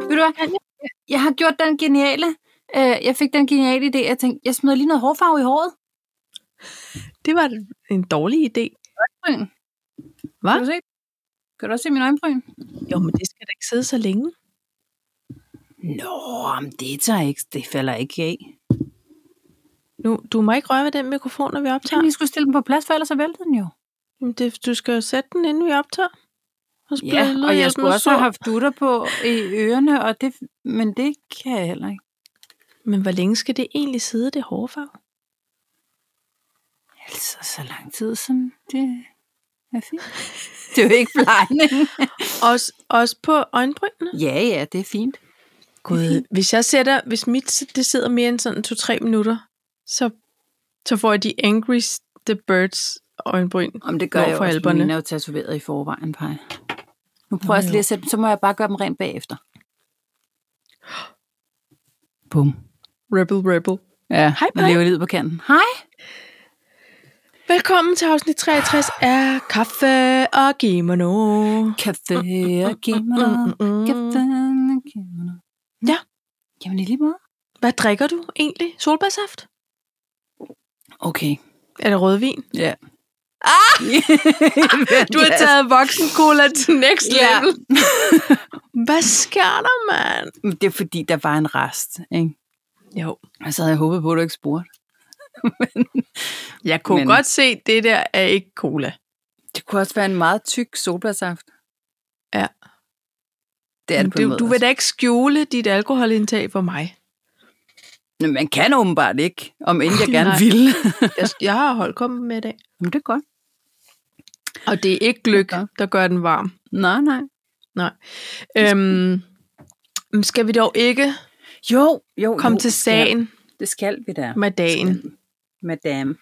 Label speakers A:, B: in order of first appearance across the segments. A: du hvad? Jeg har gjort den geniale. Øh, jeg fik den geniale idé. Jeg tænkte, jeg smider lige noget hårfarve i håret.
B: Det var en dårlig idé.
A: Øjenbryn.
B: Hva?
A: Kan du se? Kan du også se min øjenbryn?
B: Jo, men det skal da ikke sidde så længe.
A: Nå, men det tager ikke. Det falder ikke af.
B: Nu, du må ikke røre ved den mikrofon, når vi
A: Jeg
B: optager.
A: lige skulle stille den på plads, for ellers så vælter den jo.
B: Jamen, det, du skal jo sætte den, inden vi optager. Og så bliver- lyder
A: og jeg
B: som
A: skulle
B: en
A: også have
B: sur-
A: haft dutter på i ørerne, og det, men det kan jeg heller ikke.
B: Men hvor længe skal det egentlig sidde, det hårfarve?
A: Altså, så lang tid som det er fint. Det er jo ikke blegning.
B: Også, også på øjenbrynene?
A: ja, ja, det er fint.
B: Gud, hvis jeg sætter, hvis mit det sidder mere end sådan 2-3 minutter, så, så får jeg de Angry the Birds øjenbryn.
A: Om det gør
B: Nord
A: jeg
B: for
A: også,
B: Alperne.
A: men mine er jo tatoveret i forvejen, Paj. Nu
B: Nå,
A: prøver jeg også
B: jo.
A: lige at sætte dem, så må jeg bare gøre dem rent bagefter. Bum.
B: Rebel, rebel.
A: Ja,
B: Hej,
A: man
B: Paj.
A: lever livet på kanten. Hej.
B: Velkommen til afsnit 63 af Kaffe og Gimano.
A: Kaffe
B: Mm,
A: og kimono. Kaffe og kimono.
B: Ja.
A: Mm. Jamen, i lige måde.
B: Hvad drikker du egentlig? Solbærsaft?
A: Okay.
B: Eller rødvin?
A: Ja. Ah!
B: Du har taget voksen cola til next
A: Ja.
B: level. Hvad sker der, mand?
A: Men Det er fordi, der var en rest, ikke?
B: Jo,
A: Og så havde jeg håbet på, at du ikke spurgte.
B: jeg kunne
A: Men-
B: Men... godt se, at det der er ikke cola.
A: Det kunne også være en meget tyk solbærsaft.
B: Ja.
A: Det er det
B: Men
A: på en
B: du,
A: måde
B: du vil da ikke skjule dit alkoholindtag for mig.
A: også. Men Man kan åbenbart ikke, om end jeg gerne
B: Nej.
A: ville.
B: Jeg, jeg har holdt kommet med i dag.
A: Jamen, det er godt.
B: Og det er ikke gløk,
A: Okay.
B: der gør den varm.
A: Nej, nej.
B: Øhm, men skal vi dog ikke
A: Jo, jo.
B: komme
A: jo,
B: til
A: det skal-
B: sagen
A: Det skal vi da.
B: med dagen?
A: Skal- Madame.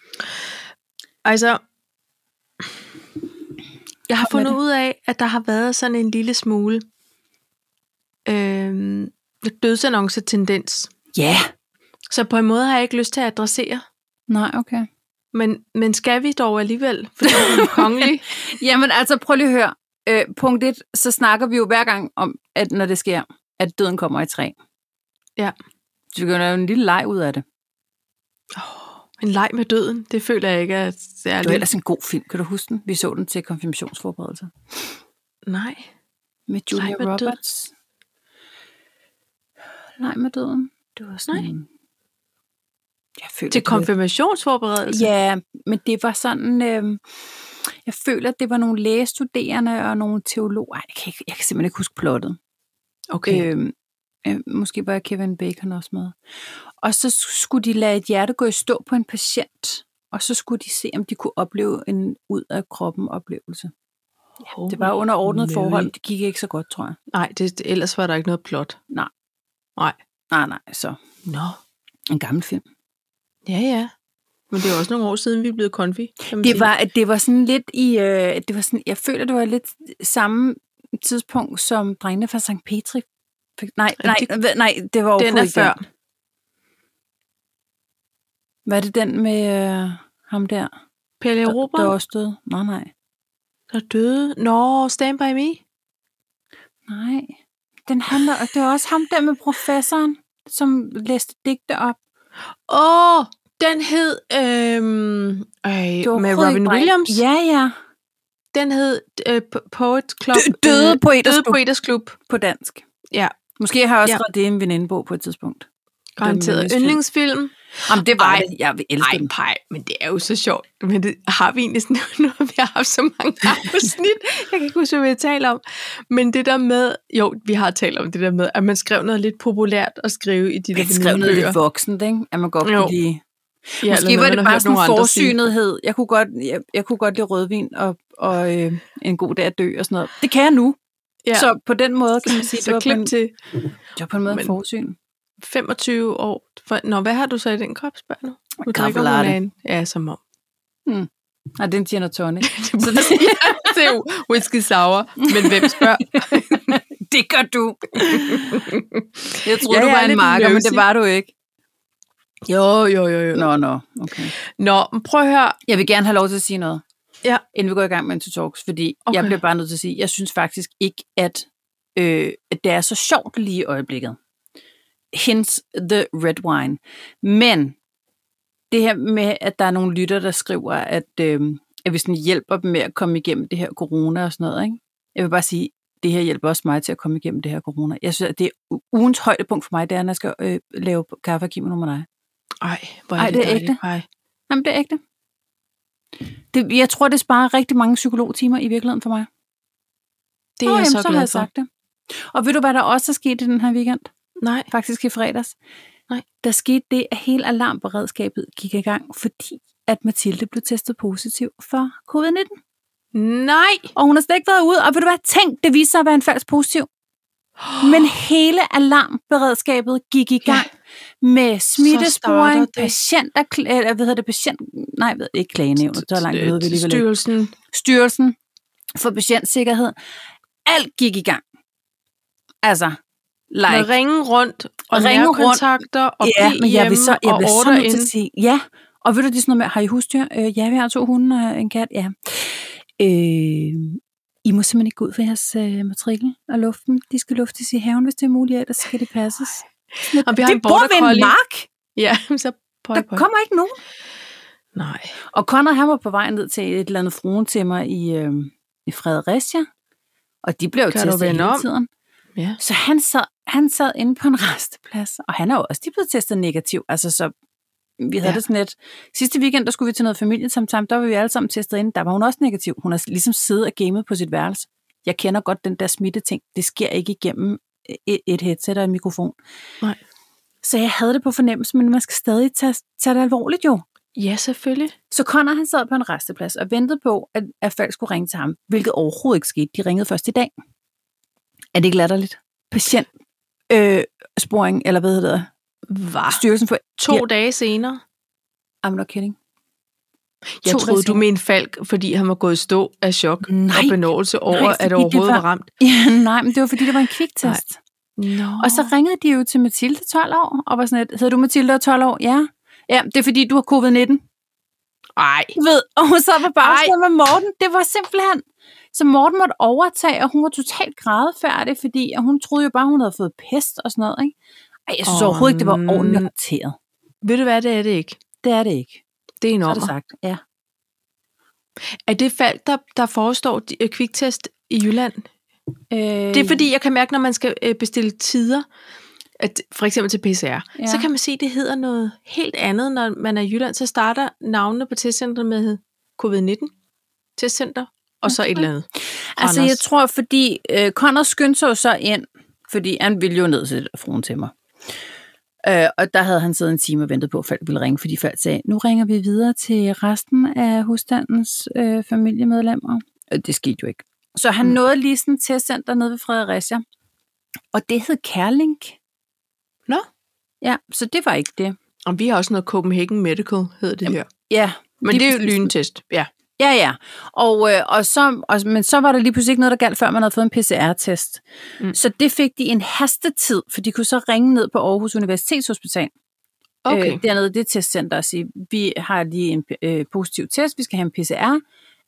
B: Altså, jeg har
A: Kom med
B: fundet ud af, at der har været sådan en lille smule øhm, dødsannonce-tendens.
A: Ja.
B: Så på en måde har jeg ikke lyst til at adressere.
A: Nej, okay.
B: Men, men skal vi dog alligevel? Fordi vi er kongelige.
A: Jamen, altså, prøv lige at høre. Øh, punkt et, så snakker vi jo hver gang om, at når det sker, at døden kommer i træ.
B: Ja.
A: Så vi kan jo lave en lille leg ud af det.
B: En leg med døden, det føler jeg ikke er
A: Det var
B: særligt.
A: ellers en god film, kan du huske den? Vi så den til konfirmationsforberedelser.
B: Nej.
A: Med Julia
B: med døden.
A: Roberts. Nej med døden. Det var sådan
B: Nej.
A: en... Jeg føler,
B: Til
A: det var-
B: konfirmationsforberedelse?
A: Ja, men det var sådan... Øh, jeg føler, at det var nogle lægestuderende og nogle teologer. Ej, jeg, kan ikke, jeg kan simpelthen ikke huske plottet.
B: Okay.
A: Øhm, Øh, måske var Kevin Bacon også med. Og så skulle de lade et hjerte gå i stå på en patient, og så skulle de se, om de kunne opleve en ud af kroppen oplevelse. Det var under ordnet
B: Mary.
A: forhold. Det gik ikke så godt, tror jeg.
B: Nej, det, det- ellers var der ikke noget plot.
A: Nej, nej, så
B: Nå.
A: en gammel film.
B: Ja, ja. Men det er også nogle år siden, vi er blevet konfi. kan man
A: Det
B: sige.
A: var, det var sådan lidt i... Øh, det var sådan, jeg føler, det var lidt samme tidspunkt som drengene fra St. Petri. fik- Nej,
B: Ja,
A: nej, det, nej, det var
B: Den er
A: overhovedet ikke
B: før.
A: Hvad er det den med øh, ham der,
B: Pelle
A: der,
B: Europa,
A: der også døde? Nej, nej.
B: der døde. Nå, Stand By Me.
A: Nej. Den handler, og det var også ham der med professoren, som læste digte op.
B: Åh, oh, den hed... Øhm, øh,
A: Det var
B: med
A: overhovedet
B: Robin
A: ikke mig.
B: Williams.
A: Ja, ja.
B: Den hed øh, P- Poet Club. øh,
A: poeters
B: døde Poeters Klub.
A: på dansk.
B: Ja.
A: Måske har jeg også
B: Ja.
A: ja. skrevet det i en venindebog på et tidspunkt.
B: Garanteret
A: yndlingsfilm.
B: yndlingsfilm.
A: Jamen, det var
B: Ej.
A: det. Jeg elsker
B: Nej,
A: den.
B: pej, men det er jo så sjovt. Men det har vi egentlig sådan, nu har vi haft så mange afsnit. Jeg kan ikke huske, hvad vi har talt om. Men det der med, jo, vi har talt om det der med, at man skrev noget lidt populært at skrive i de der
A: Det skrev noget lidt voksent, ikke? At man godt
B: Jo.
A: kunne lide.
B: Ja,
A: Måske var det bare sådan en forsynethed. Jeg kunne godt, jeg, jeg kunne godt lide rødvin og, og øh, en god dag at dø og sådan noget. Det kan jeg nu.
B: Ja.
A: Ja. Så på den måde kan man sige,
B: Sige,
A: det
B: så
A: var, på en,
B: klip til
A: det var på en måde Men,
B: Men-
A: forsyn.
B: 25 år. For, nå, hvad har du så i den kop, spørger nu? Nu drikker hun
A: Kaffelatte.
B: af en. Ja, som om.
A: Nej, det er en gin og tonic.
B: Så det, det er jo whisky sour, men hvem spørger?
A: det gør du. Jeg troede,
B: Ja,
A: ja, du
B: jeg
A: var
B: er
A: en
B: lidt
A: marker, men det
B: løsig.
A: var du ikke.
B: Jo, jo, jo, jo. Nå,
A: Nå, nå. Okay.
B: nå men prøv at høre.
A: Jeg vil gerne have lov til at sige noget.
B: Ja.
A: Inden vi går i gang med en to talks, fordi
B: Okay.
A: okay. jeg bliver bare nødt til at sige, jeg synes faktisk ikke, at øh, at det er så sjovt lige i øjeblikket. Hence the red wine. Men det her med, at der er nogle lytter, der skriver, at, øh, at vi sådan hjælper dem med at komme igennem det her corona og sådan noget. Ikke? Jeg vil bare sige, det her hjælper også mig til at komme igennem det her corona. Jeg synes, at det er u- ugens højdepunkt for mig, det er, når jeg skal øh, lave kaffe og kimono med dig.
B: Ej, hvor
A: Ej, det er
B: dejligt.
A: ægte.
B: Ej.
A: Jamen, det er ægte. Det, jeg tror, det sparer rigtig mange psykologtimer i virkeligheden for mig.
B: Det er jeg så,
A: så
B: glad
A: har jeg
B: for.
A: sagt det. Og ved du, hvad der også er sket i den her weekend?
B: Nej.
A: Faktisk i fredags.
B: Nej.
A: Der skete det, at hele alarmberedskabet gik i gang, fordi at Mathilde blev testet positiv for covid-19.
B: Nej.
A: Og hun har slet ikke været ude. Og ved du hvad? Tænk, det viste sig at være en falsk positiv. Men hele alarmberedskabet gik i gang ja. med
B: starter
A: smittesporing,
B: det.
A: patienter, kl- eller hvad hedder det, patient, nej, ved ikke klagenævnet, så langt ved vi alligevel ikke.
B: Styrelsen.
A: Styrelsen for patientsikkerhed. Alt gik i gang. Altså,
B: Med
A: like.
B: ringe rundt og
A: Ringe
B: ringe
A: rundt.
B: nærkontakter og
A: ja,
B: blive
A: men jeg
B: hjemme
A: vil så, jeg
B: og
A: vil så
B: order
A: nødt
B: ind.
A: til at sige, ja. Og ved du, det er sådan noget med, har I husdyr? Øh, ja, vi har to hunde og en kat, ja. Øh, I må simpelthen ikke gå ud for jeres øh, matrikel og luften. De skal luftes i haven, hvis det er muligt, ellers skal de passes.
B: Og vi har en border collie.
A: mark.
B: Ja, så pøj,
A: Der
B: pøj.
A: kommer ikke nogen.
B: Nej.
A: Og Conrad, han var på vej ned til et eller andet fruen til mig i, øh, i Fredericia. Og de blev jo
B: Kan du
A: testet
B: vende
A: hele
B: om?
A: tiden.
B: Ja.
A: Så han sad, han sad inde på en resteplads, og han er jo også lige blevet testet negativ. Altså, så vi havde
B: Ja.
A: ja. det sådan lidt. Sidste weekend, der skulle vi til noget familiesamtam, der var vi alle sammen testet inde. Der var hun også negativ. Hun har ligesom siddet og gamet på sit værelse. Jeg kender godt den der smitteting. Det sker ikke igennem øh, et, et headset og en mikrofon.
B: Nej.
A: Så jeg havde det på fornemmelsen, men man skal stadig tage, tage det alvorligt jo.
B: Ja, selvfølgelig.
A: Så Connor han sad på en resteplads og ventede på, at, at folk skulle ringe til ham, hvilket overhovedet ikke skete. De ringede først i dag. Er det ikke latterligt? Patient, øh, sporing, eller hvad hedder det?
B: Var
A: Styrelsen for...
B: to
A: Ja.
B: dage senere.
A: I'm not kidding.
B: Jeg
A: To
B: troede,
A: dage
B: du mente Falk, fordi han var gået i stå af chok
A: Nej.
B: og benåelse over,
A: Nej,
B: at
A: fordi
B: det
A: det
B: overhovedet var...
A: var-
B: var ramt.
A: Ja, nej, men det var fordi, det var en kviktest.
B: No.
A: Og så ringede de jo til Mathilde 12 år, og var sådan lidt, hedder du Mathilde og 12 år? Ja. Ja, det er fordi, du har covid-19.
B: Ej,
A: Du ved, og hun sad på bagsiden med Morten. Det var simpelthen... Så Morten måtte overtage, og hun var totalt grædefærdig, fordi at hun troede jo bare, hun havde fået pest og sådan noget, ikke? Ej, jeg synes oh,
B: Åh,
A: overhovedet ikke, det var
B: mm.
A: ordentligt håndteret.
B: ved du hvad, det er det ikke.
A: Det er det ikke.
B: Det er en
A: Så er
B: ommer.
A: det sagt, ja.
B: Er det Falk, der, der forestår de- øh, kviktest i Jylland?
A: Øh,
B: Det er fordi, jeg kan mærke, når man skal øh, bestille tider, at, for eksempel til PCR, ja.
A: Ja.
B: så kan man se, at det hedder noget helt andet, når man er i Jylland. Så starter navnene på testcentret med covid-19, testcenter, og så et eller andet.
A: Altså,
B: Anders.
A: jeg tror, fordi øh, Connor skyndte sig jo så ind, fordi han ville jo ned til fruen til mig. Øh, og der havde han siddet en time og ventet på, at Falk ville ringe, fordi Falk sagde, nu ringer vi videre til resten af husstandens øh, familiemedlemmer. Og det skete jo ikke. Så han
B: Mm.
A: mm. nåede lige sådan et testcenter nede ved Fredericia. Og det hed Kærlink.
B: Nå.
A: Ja, så det var ikke det.
B: Og vi har også noget Copenhagen Medical, hedder det Jamen, her.
A: Ja,
B: Men
A: lige
B: det er jo
A: præcis.
B: lyntest, ja.
A: Ja, ja. Og, øh, og så, og, men så var der lige pludselig ikke noget, der galt, før man havde fået en PCR-test.
B: Mm.
A: Mm. Så det fik de en hastetid, for de kunne så ringe ned på Aarhus Universitetshospital.
B: Okay.
A: Øh, dernede i det testcenter og sige, vi har lige en øh, positiv test, vi skal have en PCR.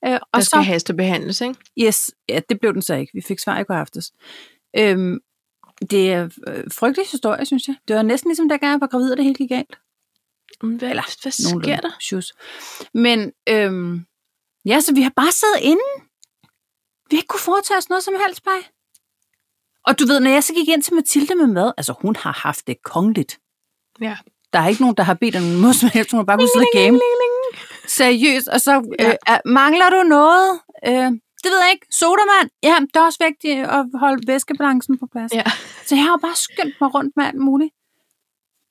A: Øh,
B: og
A: og
B: der skal
A: så,
B: hastebehandles, ikke?
A: yes, ja, det blev den så ikke. Vi fik svar i går aftes. Øhm, det er øh, frygtelig historie, synes jeg. Det var næsten ligesom, da jeg var gravid, og det hele gik galt.
B: Men Hvad, Eller, hvad sker der?
A: Shoes. Men øhm, ja, så vi har bare siddet inde. Vi har ikke kunne foretage os noget som helst, bare. Og du ved, når jeg så gik ind til Mathilde med mad, altså hun har haft det kongeligt.
B: Ja.
A: Der er ikke nogen, der har bedt om noget som helst. Hun har bare kunnet sidde og game. Seriøst. Og så
B: Ja.
A: øh, er- mangler du noget? Øh, det ved jeg ikke. Sodavand? Ja, det er også vigtigt at holde væskebalancen på plads.
B: Ja.
A: Så jeg har jo bare skyndt mig rundt med alt muligt.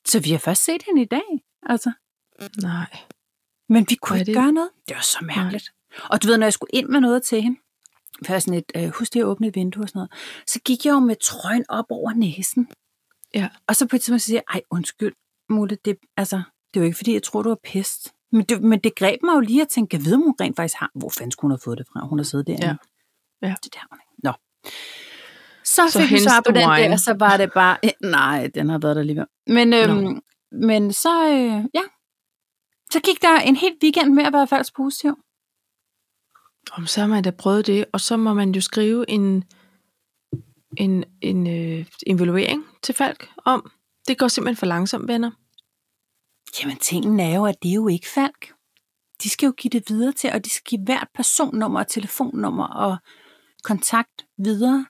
A: Så vi har først set hende i dag. Altså.
B: Nej.
A: Men vi kunne
B: Hvor er
A: ikke
B: det-
A: det? gøre noget. Det var så mærkeligt. Nej. Og du ved, når jeg skulle ind med noget til hende, for jeg er sådan et, øh, husk lige at åbne et vindue og sådan noget, så gik jeg jo med trøjen op over næsen.
B: Ja.
A: Og så på et tidspunkt så siger jeg, ej undskyld, Mulle, det, altså, det er jo ikke fordi, jeg tror, du var pest. Men det, men det greb mig jo lige at tænke, jeg ved, om hun rent faktisk har, hvor fanden skulle hun have fået det fra? Hun har siddet derinde.
B: Ja.
A: Det der, hun ikke. Nå. Så,
B: Så
A: så fik vi
B: hence
A: svar på
B: the
A: den
B: wine.
A: der, og så var det bare, eh, nej, den har været der alligevel. Men, øhm, men så, øh, ja. Så gik der en hel weekend med at være falsk positiv.
B: Om så har man da prøvet det, og så må man jo skrive en en, en øh, evaluering til folk om, det går simpelthen for langsomt, venner.
A: Jamen, tingen er jo, at det er jo ikke Falk. De skal jo give det videre til, og de skal give hvert personnummer og telefonnummer og kontakt videre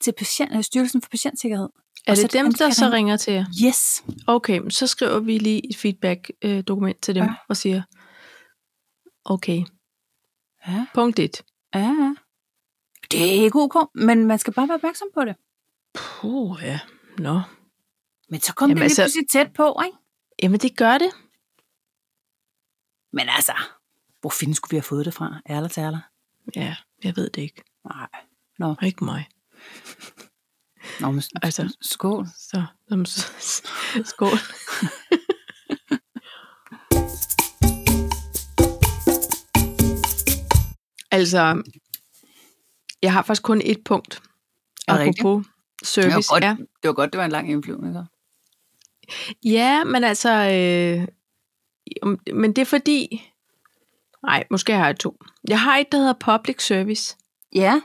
A: til patient, øh, Styrelsen for Patientsikkerhed.
B: Er
A: Og
B: det
A: så
B: dem, der
A: skal
B: så
A: ringe.
B: ringer til jer?
A: Yes,
B: Okay, men så skriver vi lige et feedback-dokument til dem
A: Ja.
B: ja. og siger, okay,
A: Ja.
B: punkt 1.
A: ja, ja. Det er ikke ok, men man skal bare være opmærksom på det.
B: Puh, ja. Nå.
A: Men så kom Jamen,
B: Jamen,
A: det lige altså...
B: altså-
A: pludselig tæt på, ikke?
B: Jamen, det gør det.
A: Men altså, hvor fanden skulle vi have fået det fra? Ærler til ærler.
B: Ja, jeg ved det ikke.
A: Nej.
B: Ikke mig.
A: Nå, men
B: Altså.
A: altså. skål.
B: Så, jamen, så skål. altså, jeg har faktisk kun et punkt.
A: Er det rigtigt?
B: Apropos
A: Det
B: service.
A: var godt.
B: Ja,
A: Det var godt, det var en lang indflyvning. så.
B: ja men altså... Øh, om- men det er fordi... Nej, måske har jeg to. Jeg har et, der hedder public service.
A: Ja,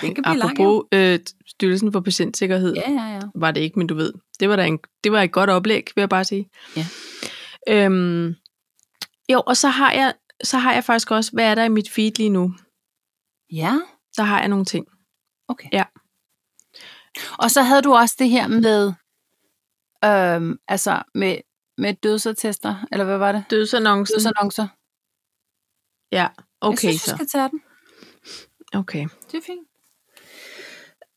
A: den kan blive lang. jo.
B: Apropos øh, Styrelsen for Patientsikkerhed.
A: Ja, ja, ja.
B: var det ikke, men du ved, det var, da en, det var et godt oplæg, vil jeg bare sige.
A: Ja.
B: Øhm, jo, og så har, jeg, så har jeg faktisk også, hvad er der i mit feed lige nu?
A: Ja,
B: Der har jeg nogle ting.
A: okay.
B: Ja.
A: Og så havde du også det her med, øhm, altså med, med dødsattester, eller hvad var det?
B: Dødsannoncen.
A: Dødsannoncer.
B: Ja, okay
A: Jeg synes,
B: så.
A: du skal tage den.
B: Okay.
A: Det er fint.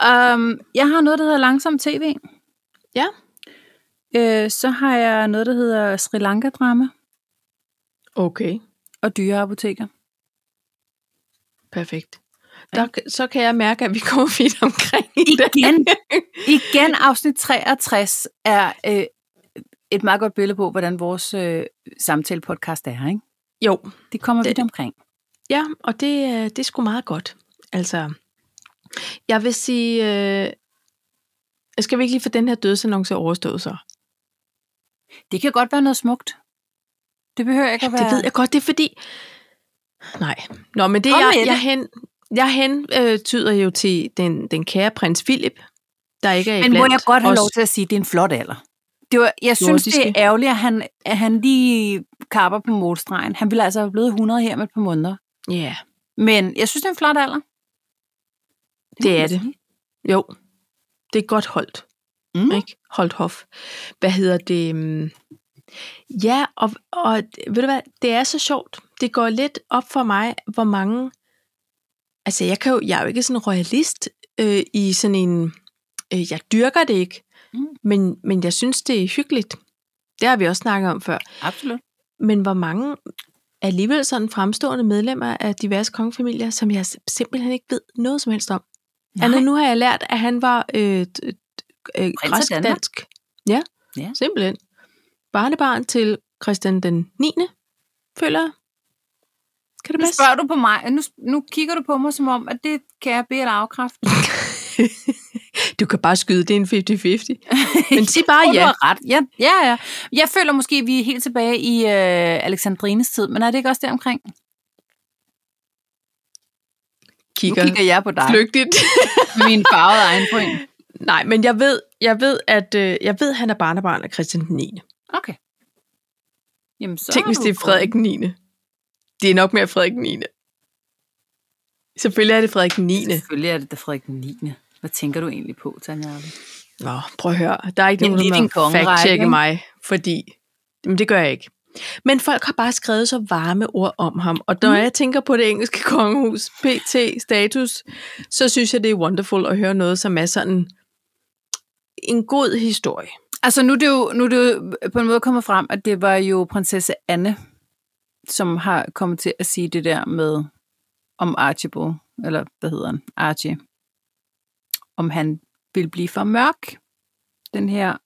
A: Um, jeg har noget, der hedder Langsom TV.
B: Ja.
A: Øh, så har jeg noget, der hedder Sri Lanka-drama
B: Okay,
A: og dyreapoteker.
B: perfekt. Der, så kan jeg mærke, at vi kommer vidt omkring i det.
A: Igen, igen afsnit 63 er øh, et meget godt billede på, hvordan vores øh, samtale-podcast er. Ikke?
B: Jo,
A: Det kommer
B: Det-
A: vidt omkring.
B: Ja, og det, øh, det er sgu meget godt. Altså, jeg vil sige, øh, skal vi ikke lige få den her dødsannonce overstået så?
A: Det kan godt være noget smukt. Det behøver ikke at være...
B: Det ved jeg godt, det er fordi... Nej. Nå, men det
A: Kom
B: jeg,
A: med
B: jeg, hen, jeg hen øh, tyder jo til den, den kære prins Philip, der ikke er
A: Men må
B: iblandt
A: jeg godt have
B: os.
A: lov til at sige, at det er en flot alder? Det var, jeg synes, det er
B: Jordiske.
A: ærgerligt, at han, at han lige kapper på målstregen. Han ville altså have blevet 100 her med et par måneder.
B: Ja,
A: Men jeg synes, det er en flot alder. må
B: Det er
A: man
B: det.
A: sige.
B: jo. Det er godt holdt.
A: Mm.
B: Ikke? Holdt hof. Hvad hedder det? mm, Ja, og, og ved du hvad, det er så sjovt. Det går lidt op for mig, hvor mange... Altså, jeg, kan jo, jeg er jo ikke sådan en royalist øh, i sådan en... Øh, jeg dyrker det ikke,
A: Mm.
B: mm. men, men jeg synes, det er hyggeligt. Det har vi også snakket om før.
A: Absolut.
B: Men hvor mange alligevel sådan fremstående medlemmer af diverse kongefamilier, som jeg simpelthen ikke ved noget som helst om.
A: Nej.
B: Altså, nu har jeg lært, at han var øh, d- d- øh,
A: af
B: græsk-dansk. Ja,
A: Ja.
B: ja, simpelthen. Barnebarn til Christian den 9. føler jeg. Kan det
A: Nu
B: passe?
A: spørger du på mig. Nu, nu kigger du på mig som om, at det kan jeg bede dig afkræfte.
B: Du kan bare skyde, det er en 50-50. Men sig bare
A: Tror, Du
B: Ah, ja.
A: har ret. Ja, ja, ja. Jeg føler måske, at vi er helt tilbage i øh, Alexandrines tid, men er det ikke også deromkring?
B: Kigger,
A: Nu kigger jeg på dig
B: flygtigt.
A: med min farvede egen point.
B: Nej, men jeg ved, jeg ved, at øh, jeg ved, han er barnebarn af Christian den 9.
A: Okay. Jamen, så
B: Tænk,
A: har
B: hvis
A: du
B: det er
A: fået-
B: Frederik 9. Det er nok mere Frederik 9. Selvfølgelig er det Frederik 9.
A: Selvfølgelig er det da Frederik den 9. Hvad tænker du egentlig på, Tanja? Arbe?
B: Nå, prøv at høre. Der er ikke
A: Det er
B: nogen,
A: lidt
B: der
A: en
B: må
A: kongerække,
B: fact-checke
A: ikke?
B: mig, fordi... Jamen, det gør jeg ikke. Men folk har bare skrevet så varme ord om ham. Og når mm. jeg tænker på det engelske kongehus, PT, status, så synes jeg, det er wonderful at høre noget, som er sådan en god historie.
A: Altså, nu er, det jo, nu er det jo på en måde kommet frem, at det var jo prinsesse Anne, som har kommet til at sige det der med, om Archibald, eller hvad hedder han, Archie, om han vil blive for mørk, den her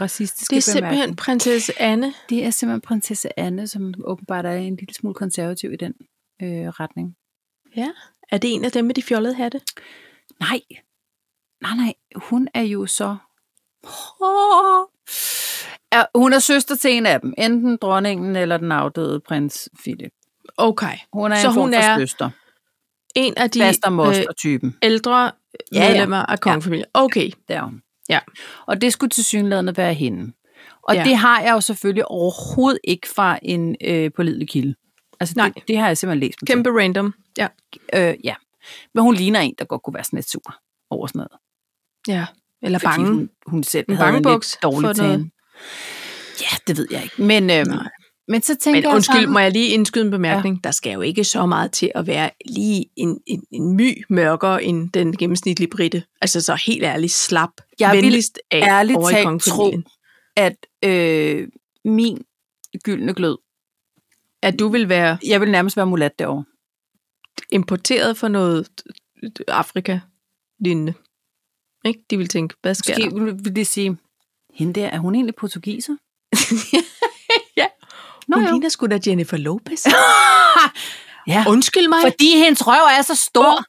A: racistiske
B: Det er simpelthen
A: bemærkning.
B: prinsesse Anne.
A: Det er simpelthen prinsesse Anne, som åbenbart er en lille smule konservativ i den øh, retning.
B: Ja. Er det en af dem med de fjollede hatte?
A: Nej. Nej, nej. Hun er jo så... Åh. Er, hun er søster til en af dem. Enten dronningen eller den afdøde prins Philip.
B: Okay.
A: Hun er
B: Så
A: en form
B: hun
A: for
B: er
A: søster.
B: En af de øh,
A: Faster moster-typen.
B: ældre ja,
A: Ja,
B: ja.
A: ja.
B: medlemmer af kongefamilien. Okay,
A: Det er hun.
B: Ja.
A: Og det skulle til synlædende være hende. Og
B: Ja.
A: ja. det har jeg jo selvfølgelig overhovedet ikke fra en øh, pålidelig kilde. Altså,
B: Nej.
A: Det, det har jeg simpelthen læst mig til.
B: kæmpe random. Ja.
A: Øh, ja. Men hun ligner en, der godt kunne være sådan lidt sur over sådan noget.
B: ja. Eller
A: Fordi
B: bange.
A: Hun, hun selv
B: En
A: en havde en
B: bangebuks
A: lidt
B: for
A: dårlig
B: noget.
A: tale. Ja, det ved jeg ikke. Men, øhm,
B: Nej.
A: men så tænker
B: Men
A: jeg
B: undskyld,
A: sådan,
B: må jeg lige indskyde en bemærkning? Ja. Der skal jo ikke så meget til at være lige en, en, en my mørkere end den gennemsnitlige britte. Altså så helt ærligt, slap.
A: Jeg vil
B: venligst af
A: ærligt
B: over i
A: talt
B: kongefamilien.
A: at øh, min gyldne glød,
B: At du vil være
A: jeg vil nærmest være mulat derovre.
B: importeret for noget Afrika lignende. Ikke? De vil tænke, hvad sker der?
A: Måske vil- vil de sige, hende der, er hun egentlig portugiser?
B: ja.
A: Nå
B: Hun
A: jo.
B: ligner sgu da Jennifer Lopez.
A: Ja,
B: Undskyld mig.
A: fordi hendes røv er så stor.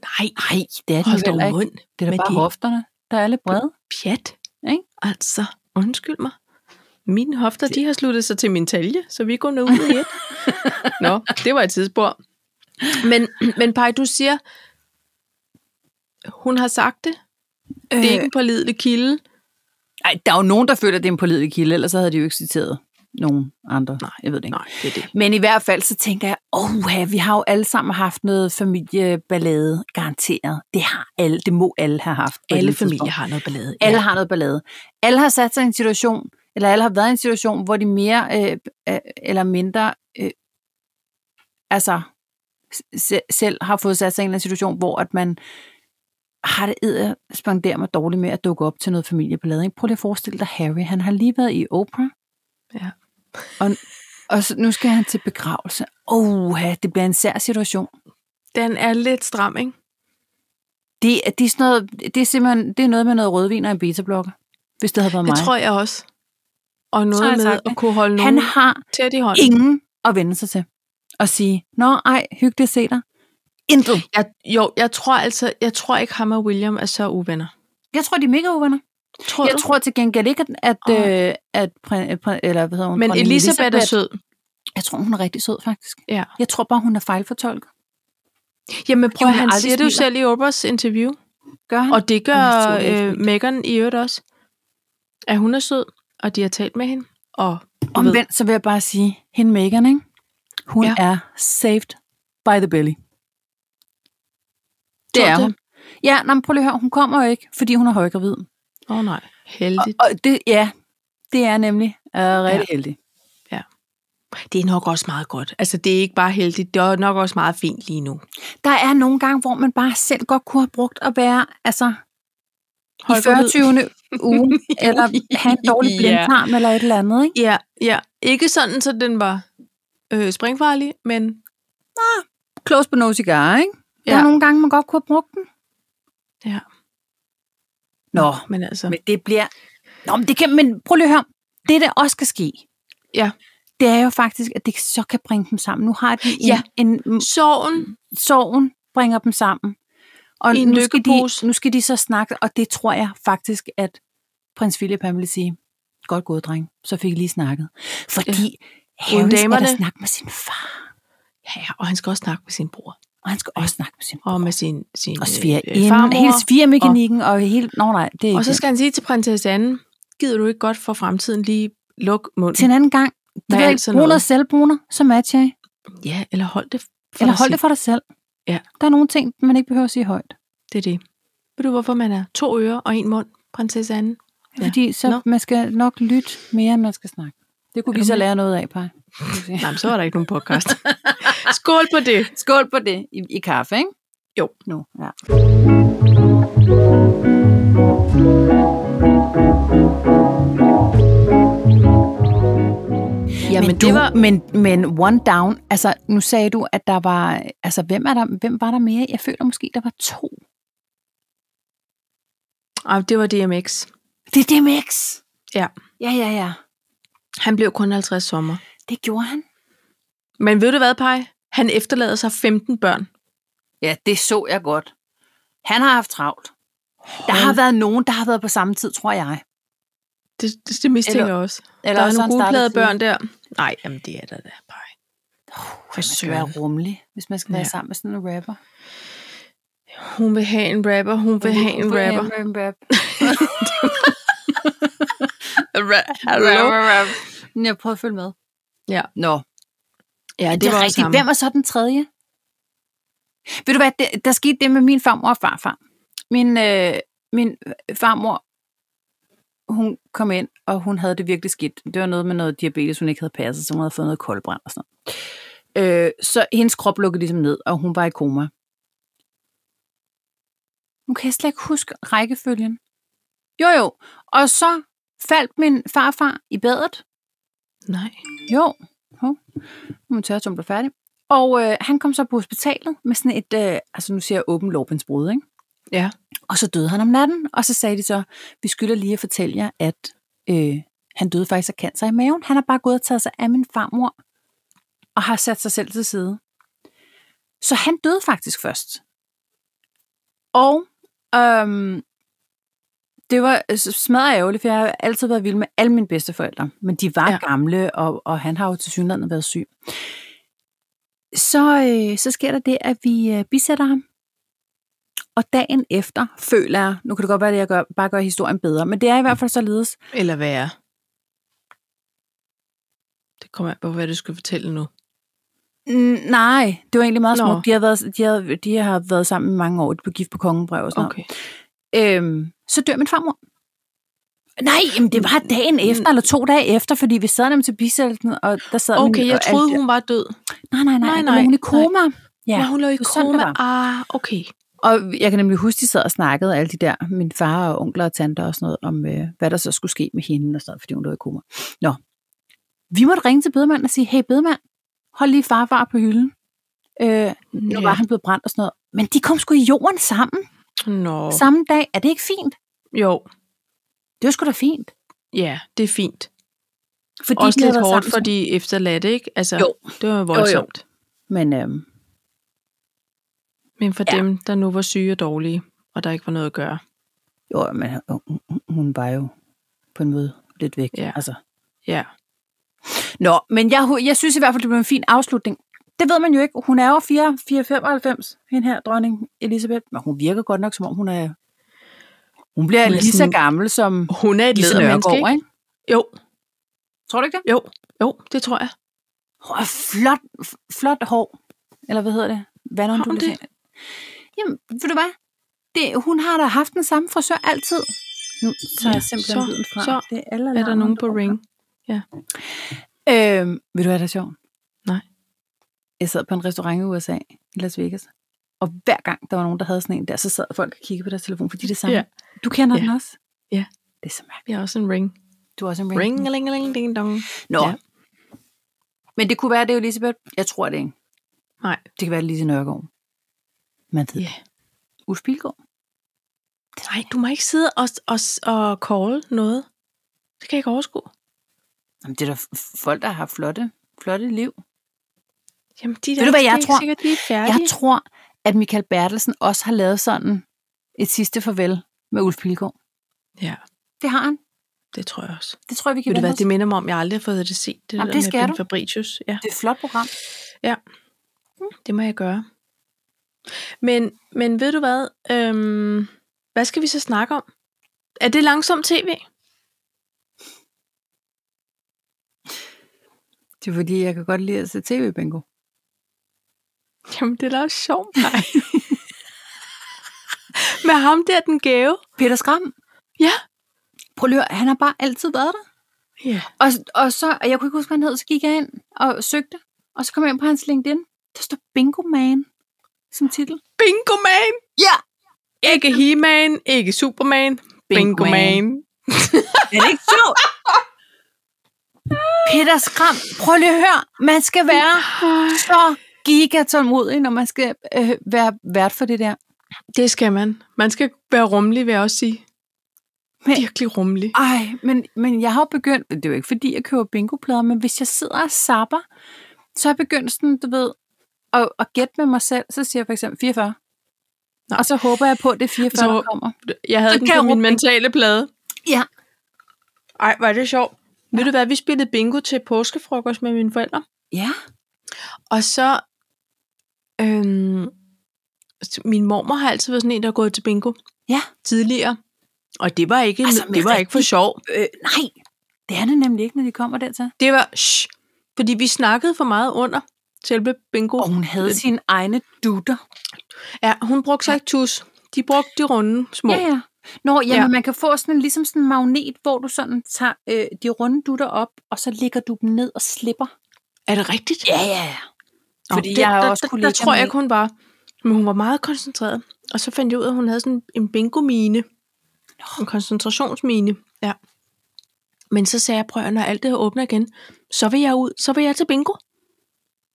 B: Nej,
A: Nej, det er den
B: hold
A: heller
B: dog
A: ikke.
B: mund.
A: Det er da
B: med
A: bare
B: de-
A: hofterne, der er lidt brede.
B: Pjat.
A: Ikke?
B: Altså, undskyld mig. Mine hofter, de har sluttet sig til min talje, så vi går nu ud i et. Nå, det var et tidsspor. Men, men Paj, du siger, hun har sagt det. Det
A: Øh.
B: er ikke en pålidelig kilde.
A: Ej, der er jo nogen, der føler, at det er en pålidelig kilde, ellers så havde de jo ikke citeret nogen andre. Nej, jeg ved det ikke.
B: Nej, det er det.
A: Men i hvert fald, så tænker jeg, åh, vi har jo alle sammen haft noget familieballade, garanteret. Det har alle, det må alle have haft. på et eller
B: Alle
A: andet
B: familier
A: tidspunkt.
B: har noget ballade.
A: Alle har noget ballade. Alle har sat sig i en situation, eller alle har været i en situation, hvor de mere øh, øh, eller mindre, øh, altså se, selv har fået sat sig i en eller anden situation, hvor at man har det edder spanderer mig dårligt med at dukke op til noget familieballade. ikke? Prøv lige at forestille dig Harry. Han har lige været i Oprah.
B: Ja.
A: Og, og så, nu skal han til begravelse. Åh, det bliver en sær situation.
B: Den er lidt stram, ikke?
A: Det, er- det, er sådan noget, det er simpelthen det er noget med noget rødvin og en beta-blokker, hvis det havde været
B: Det
A: mig.
B: tror jeg også. Og noget
A: har jeg
B: med
A: sagt
B: at
A: det.
B: kunne holde
A: han
B: nogen
A: har
B: tæt i hånden.
A: ingen at vende sig til. Og sige, nå ej, hyggeligt at se dig. Intet.
B: Jeg, jo, jeg tror altså, jeg tror ikke ham og William er så uvenner.
A: Jeg tror, de er mega uvenner.
B: Tror
A: Jeg
B: du?
A: tror til gengæld ikke, at, at,
B: Åh.
A: øh, at prin, prin, eller hvad hedder hun?
B: Men
A: dronning
B: Elisabeth, Elisabeth er sød.
A: Jeg tror, hun er rigtig sød, faktisk.
B: Ja.
A: Jeg tror bare, hun er fejlfortolket.
B: Jamen prøv,
A: Hun
B: han
A: aldrig
B: siger det jo
A: smiler.
B: selv i Oprahs interview.
A: Gør han?
B: Og det
A: Hun
B: gør
A: er sød,
B: øh, Megan i øvrigt også. At hun er sød, og de har talt med hende. Og du ved,
A: Omvendt, så vil jeg bare sige, hende Megan, ikke? hun
B: Ja.
A: ja. er saved by the belly. Det
B: Tror
A: er
B: du
A: hun. Ja, nej, men prøv lige at høre, hun kommer jo ikke, fordi hun er højgravid.
B: Åh oh, nej,
A: Og,
B: heldigt.
A: og det, ja, det er nemlig uh, rigtig ja. heldig.
B: Det er nok også meget godt. Altså det er ikke bare heldigt, det er nok også meget fint lige nu.
A: Der er nogle gange, hvor man bare selv godt kunne have brugt at være altså, i
B: Hold
A: 40.
B: ud.
A: uge, eller have en dårlig
B: Ja.
A: blindtarm, eller et eller andet, ikke?
B: Ja, ja. Ikke sådan, så den var øh, springfarlig, men
A: Close but no cigar, ikke? Der
B: Ja.
A: er nogle gange, man godt kunne have brugt den.
B: Ja.
A: Nå,
B: Men altså,
A: Men det bliver... Nå, men det kan... Men prøv lige at høre. Det, der også skal ske,
B: Ja.
A: det er jo faktisk, at det så kan bringe dem sammen. Nu har de en,
B: Ja.
A: ja. en, en
B: sorgen,
A: sorgen bringer dem sammen. Og
B: I en
A: nu, skal
B: lykkepose.
A: de, nu skal de så snakke, og det tror jeg faktisk, at prins Philip han vil sige, godt gået, dreng, så fik I lige snakket. Fordi ja. Harry skal
B: damerne.
A: da snakke med sin far,
B: ja, ja, og han skal også snakke med sin bror,
A: og han skal også snakke med sin
B: og med sin, sin
A: og
B: øh,
A: sviger
B: øh,
A: ind,
B: farmor.
A: hele svigermekanikken, og, og hele... Nå nej, det er ikke
B: Og så
A: det.
B: skal han sige til prinsesse Anne, gider du ikke godt for fremtiden lige luk munden?
A: Til en anden gang,
B: Hvad
A: det
B: er
A: vil jeg
B: altså
A: ikke bruge
B: noget?
A: noget selvbruner, så matcher jeg.
B: Ja, eller hold det for
A: Eller hold
B: dig selv.
A: det for dig selv.
B: Ja.
A: Der er nogle ting, man ikke behøver at sige højt.
B: Det er det. Ved du, hvorfor man er to ører og en mund, prinsesse Anne? Ja.
A: Ja. Fordi så
B: Nå.
A: no. man skal nok lytte mere, end man skal snakke. Det kunne vi så
B: Jamen.
A: lære noget af, Paj.
B: Nej, men så var der ikke nogen podcast. Skål på det.
A: Skål på det i, i kaffe, ikke?
B: Jo.
A: Nu, ja.
B: Ja,
A: men, du, var... men, men one down, altså nu sagde du, at der var, altså hvem, er der, hvem var der mere? Jeg føler måske, der var to.
B: Ah, det var DMX.
A: Det er DMX.
B: Ja.
A: Ja, ja, ja.
B: Han blev kun 50 sommer.
A: Det gjorde han.
B: Men ved du hvad, Paj? Han efterlader sig 15 børn.
A: Ja, det så jeg godt. Han har haft travlt. Der har
B: Hold.
A: været nogen, der har været på samme tid, tror jeg.
B: Det, det, det mistænker jeg også. Eller der er
A: også
B: nogle
A: han
B: gode
A: startede
B: plade
A: tidligt.
B: børn der. Nej, jamen det er der da, Paj.
A: Man skal være rummelig, hvis man skal være
B: Ja.
A: sammen med sådan en rapper.
B: Jo. Hun vil have en rapper, hun vil have en rapper.
A: Rap, rap.
B: Ra-
A: Rapper, rap. Jeg prøver at følge med.
B: Ja.
A: Nå,
B: Ja, det,
A: det, det
B: var
A: er
B: rigtigt.
A: rigtigt. Hvem var så den tredje? Ved du hvad, det, der skete det med min farmor og farfar. Min, øh, min farmor, hun kom ind, og hun havde det virkelig skidt. Det var noget med noget diabetes, hun ikke havde passet, så hun havde fået noget koldbrand og sådan noget. Øh, så hendes krop lukkede ligesom ned, og hun var i koma. Nu kan jeg slet ikke huske rækkefølgen. Jo, jo. Og så faldt min farfar i badet,
B: Nej.
A: jo, hov. nu må tørre blev færdig. Og øh, han kom så på hospitalet med sådan et, øh, altså nu siger jeg åben lårbensbrud, ikke?
B: Ja.
A: Og så døde han om natten, og så sagde de så, vi skylder lige at fortælle jer, at øh, han døde faktisk af cancer i maven. Han har bare gået og taget sig af min farmor, og har sat sig selv til side. Så han døde faktisk først. Og øhm, det var øh, smadret ærgerligt, for jeg har altid været vild med alle mine bedsteforældre. Men de var
B: Ja.
A: ja. gamle, og, og han har jo til synligheden været syg. Så, øh, så sker der det, at vi øh, bisætter ham. Og dagen efter føler jeg, nu kan det godt være, at jeg gør, bare gør historien bedre, men det er i hvert fald således,
B: Eller hvad er? Det kommer an på, hvad du skal fortælle nu.
A: Mm, nej, det var egentlig meget
B: Nå.
A: smukt. De har, været, de, har, de har været sammen i mange år, de blev gift på kongebrev og sådan okay. noget.
B: Okay.
A: Øhm, så dør min farmor. Nej, jamen det var dagen efter, eller to dage efter, fordi vi sad nemlig til bisættelsen, og der sad
B: Okay,
A: min,
B: jeg
A: og
B: troede,
A: alt-
B: hun var død.
A: Nej, nej, nej,
B: Nej,
A: nej,
B: nej,
A: nej hun er i koma.
B: Ja, hun lå i
A: det var sådan, det
B: koma.
A: var.
B: Ah, okay.
A: Og jeg kan nemlig huske, de sad og snakkede alle de der, min far og onkler og tanter og sådan noget, om øh, hvad der så skulle ske med hende og sådan noget, fordi hun lå i koma. Nå. Vi måtte ringe til bedemanden og sige, hey bedemand, hold lige farfar på hylden. Øh, nu
B: Ja.
A: ja. var han blevet brændt og sådan noget. Men de kom sgu i jorden sammen,
B: Nå.
A: oh. samme dag. Er det ikke fint?
B: Jo,
A: Det var sgu da fint.
B: ja, det er fint.
A: Fordi
B: Også
A: de havde
B: lidt
A: været
B: hårdt
A: sammen
B: for de efterladte, ikke? Altså,
A: Jo.
B: det var voldsomt.
A: Men øhm,
B: Men for ja.
A: Ja.
B: dem, der nu var syge og dårlige, og der ikke var noget at gøre.
A: jo, men hun- hun, hun var jo på en måde lidt væk.
B: Ja.
A: Altså.
B: Ja,
A: Nå, men jeg, jeg synes i hvert fald, det blev en fin afslutning. Det ved man jo ikke. Hun er jo 4, 4 95, hende her dronning Elisabeth. Men hun virker godt nok, som om hun er... Hun bliver
B: Hun
A: hun
B: er
A: lige så
B: sådan-
A: gammel som
B: hun er et
A: Lise
B: ledermenneske,
A: Nørgaard,
B: Ligesom ikke?
A: ikke?
B: Jo,
A: Tror du ikke det?
B: jo, jo, det tror jeg.
A: Hun har flot, f- flot hår. Eller hvad hedder det?
B: Har hun
A: Vandundulating. Jamen, ved du hvad? Det, hun har da haft den samme frisør altid. Nu tager
B: Ja,
A: ja, jeg simpelthen
B: så-
A: lyden fra.
B: så
A: det er, alle
B: Er der
A: alarmer,
B: nogen på
A: går.
B: ring?
A: Øhm, ved du hvad, der er sjovt?
B: Nej.
A: Jeg sad på en restaurant i USA, i Las Vegas, og hver gang der var nogen, der havde sådan en der, så sad folk og kiggede på deres telefon, fordi det er samme.
B: Ja.
A: Ja. Du kender
B: Ja.
A: den også?
B: Ja.
A: Det er så mærkeligt.
B: Vi har også en ring.
A: Du er også en ring.
B: Ring, ring, ring, ding, dong.
A: Nå.
B: Ja.
A: Ja. Men det kunne være, det er Elisabeth. Jeg tror det ikke.
B: Nej.
A: Det kan være Lise Nørgaard. Man ved.
B: Ja.
A: Yeah. Ulf Pilgaard.
B: Nej, du må ikke sidde og, og, og call noget. Det kan jeg ikke overskue.
A: Jamen, det er der folk, der har flotte, flotte liv.
B: Jamen, de der,
A: Ved du, hvad jeg
B: det er ikke
A: tror?
B: Sikkert, de er færdige.
A: Jeg tror, at Michael Bertelsen også har lavet sådan et sidste farvel med Ulf Pilgaard.
B: Ja,
A: Det har han.
B: det tror jeg også.
A: Det tror jeg, vi kan
B: Ved du
A: vende
B: hvad,
A: os
B: det minder mig om, jeg aldrig har fået det set. Det,
A: Jamen,
B: der
A: det
B: med
A: skal
B: Ben
A: du.
B: Fabricius. Ja,
A: Det er et flot program.
B: det må jeg gøre. Men, men ved du hvad? Øhm, hvad skal vi så snakke om? Er det langsom tv?
A: Det er fordi, jeg kan godt lide at se tv-bingo.
B: Jamen, det er da også sjovt, nej. Med ham der, den gave.
A: Peter Skram?
B: Ja.
A: Prøv lige at høre, han har bare altid været der.
B: Ja.
A: Og, og så, og jeg kunne ikke huske, hvad han hed, så gik jeg ind og søgte. Og så kom jeg ind på hans LinkedIn. Der står Bingo Man som titel.
B: Bingo Man!
A: Ja!
B: Ikke He-Man, ikke Superman. Bingo Man.
A: Er det ikke sjovt? Peter Skram, prøv lige at høre. Man skal være så gigatålmodig, når man skal øh, være vært for det der.
B: Det skal man. Man skal være rummelig, vil jeg også sige.
A: Men-
B: Virkelig rummelig.
A: Ej, men, men jeg har jo begyndt, det er jo ikke fordi, jeg køber bingoplader, men hvis jeg sidder og sapper, så har jeg begyndt sådan, du ved, at, at gætte med mig selv, så siger jeg for eksempel 44.
B: Nå.
A: Og så håber jeg på, at det er 44,
B: Så-
A: så, der kommer.
B: Jeg havde
A: Så
B: den
A: kan
B: på
A: jeg
B: min
A: råbe bingo.
B: mentale plade.
A: Ja.
B: Ej, var det sjovt. Ja. Ved du hvad, vi spillede bingo til påskefrokost med mine forældre.
A: Ja.
B: Og så øhm, min mormor har altid været sådan en, der er gået til bingo
A: Ja.
B: tidligere. Og det var ikke,
A: Altså,
B: altså,
A: med
B: det var ikke for
A: rigtig-
B: sjov.
A: Øh, nej, det er det nemlig ikke, når de kommer dertil.
B: Det var, shh, fordi vi snakkede for meget under selve bingo.
A: Og hun havde sine egne dutter.
B: Ja, hun brugte sig ikke tus. De brugte de runde små.
A: Ja, ja. Nå, jamen, ja.
B: Ja.
A: man kan få sådan en, ligesom sådan en magnet, hvor du sådan tager øh, de runde dutter op, og så lægger du dem ned og slipper.
B: Er det rigtigt?
A: ja, ja.
B: Nå,
A: Fordi
B: det-
A: jeg har
B: der,
A: også
B: der, der,
A: kollegaer
B: der tror jeg
A: med-
B: ikke, hun var. Men hun var meget koncentreret. Og så fandt jeg ud af, at hun havde sådan en bingo-mine. En koncentrationsmine. Ja. Men så sagde jeg, prøv at høre, når alt det her åbner igen, så vil jeg ud, så vil jeg til bingo.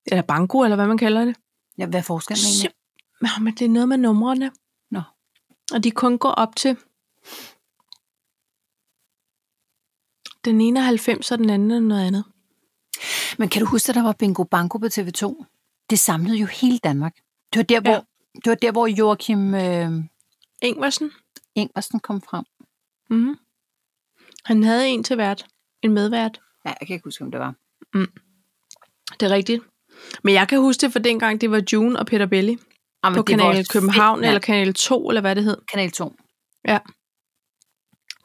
B: Eller banko, eller hvad man kalder det.
A: ja hvad er forskellen egentlig?
B: Sim- Nå, men det er noget med numrene.
A: Nå.
B: Og de kun går op til... Den ene er 90, og den anden er noget andet.
A: Men kan du huske, at der var Bingo Banko på TV2? Det samlede jo hele Danmark. Det var der, hvor,
B: Ja.
A: det var der, hvor Joachim øh,
B: Ingvarsen.
A: Ingvarsen kom frem.
B: Mm-hmm. Han havde en til vært. En medvært.
A: Ja, jeg kan ikke huske, hvem det var.
B: Det er rigtigt. Men jeg kan huske det fra dengang, det var June og Peter Belli
A: Jamen,
B: på Kanal København,
A: fedt,
B: eller
A: eller
B: Kanal 2, eller hvad det hed.
A: Kanal 2.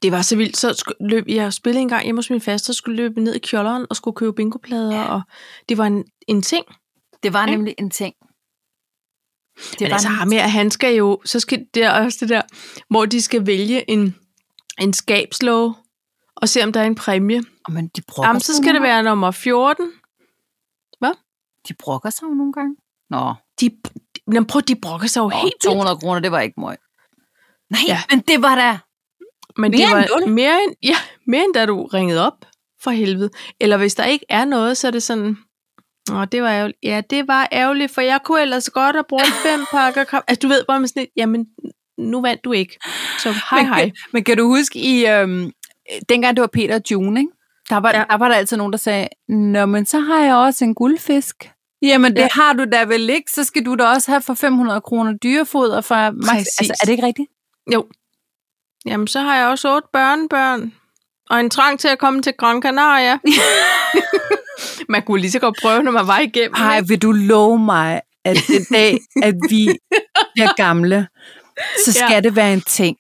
B: Det var så vildt. Så sku- løb jeg spillede en gang hjemme hos min faste, og skulle løbe ned i kjolderen og skulle købe bingoplader, ja. og det var en, en ting.
A: Det var
B: Ikke?
A: nemlig en ting. Det
B: Det Men
A: var
B: altså
A: en-
B: ham her, han skal jo, så skal det er også det der, hvor de skal vælge en, en skabslov, og se om der er en præmie.
A: Åh, men de brokker
B: Jamen, så
A: sig jo
B: skal det
A: nogle
B: være nummer 14.
A: gange. De brokker sig jo nogle gange. Nå,
B: De, de, prøv, de brokker sig jo
A: Nå
B: helt vildt.
A: 200 kroner, det var ikke meget. Nej, ja.
B: Ja.
A: men det var da... Mere
B: Men det
A: end
B: var
A: nul?
B: mere end, ja, mere end da du ringede op for helvede. Eller hvis der ikke er noget, så er det sådan, Nå, det var ærgerligt. Ja, det var ærgerligt, for jeg kunne ellers godt have brugt fem pakker kaffe. Altså, du ved bare med sådan et, jamen, nu vandt du ikke. Så hej,
A: men,
B: hej.
A: Kan, men kan du huske, i øhm, dengang det var Peter og June, ikke? Der, var, ja.
B: Ja.
A: der var der altid nogen, der sagde, Nå, men så har jeg også en guldfisk. Jamen, det ja.
B: Ja.
A: har du da vel ikke, så skal du da også have for 500 kroner dyrefod og for max.
B: Præcis.
A: Altså, er det ikke rigtigt?
B: Jamen, så har jeg også otte børnebørn. Og en trang til at komme til Gran Canaria. man kunne lige så godt prøve, når man var igennem.
A: Ej,
B: ikke?
A: vil du love mig, at den dag, at vi bliver gamle, så
B: Ja.
A: skal ja. det være en ting.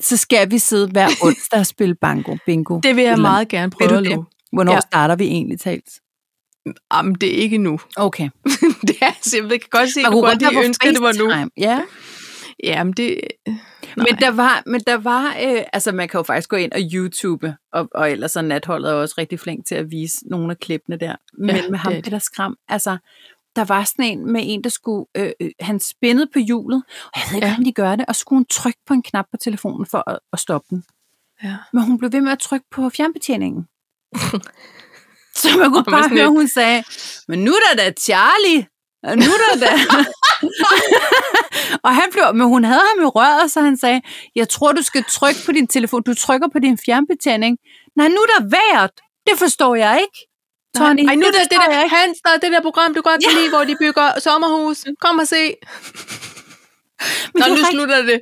A: Så skal vi sidde hver onsdag og spille bango, bingo. Det,
B: det vil jeg
A: Eller-
B: meget gerne
A: Vil
B: prøve
A: du
B: at
A: det?
B: love.
A: Hvornår ja.
B: ja.
A: starter vi egentlig talt?
B: Jamen, det er ikke nu.
A: Okay.
B: det er simpelthen, jeg kan godt se, at
A: Man
B: du
A: kunne
B: godt
A: godt være
B: lige
A: på
B: ønsker, det var nu.
A: FaceTime. Ja.
B: Jamen, det... Nej.
A: Men der var, men der var øh, altså man kan jo faktisk gå ind og YouTube, og, og ellers er natholdet jo også rigtig flink til at vise nogle af klippene der. Men ja,
B: Ja,
A: med ham,
B: det er det.
A: Peter Skram, altså der var sådan en med en, der skulle, øh, øh, han spændede på hjulet, og jeg ved ikke,
B: Ja.
A: hvordan de gør det, og så skulle hun trykke på en knap på telefonen for at, at stoppe den.
B: Ja.
A: Men hun blev ved med at trykke på fjernbetjeningen. så man kunne
B: Og man
A: bare
B: sådan
A: høre,
B: lidt-
A: hun sagde, men nu er der da Charlie, og nu er der da... og han blev, men hun havde ham i røret, så han sagde, jeg tror, du skal trykke på din telefon. Du trykker på din fjernbetjening. Nej, nu er der vejret. Det forstår jeg ikke. Tony,
B: Ej, nu er det, det
A: forstår jeg
B: der,
A: ikke.
B: Hans, der er det der program, du godt kan
A: Ja.
B: ja. lide, hvor de bygger sommerhus. Kom og se.
A: Men det
B: Nå,
A: er
B: nu
A: rigtigt.
B: slutter det.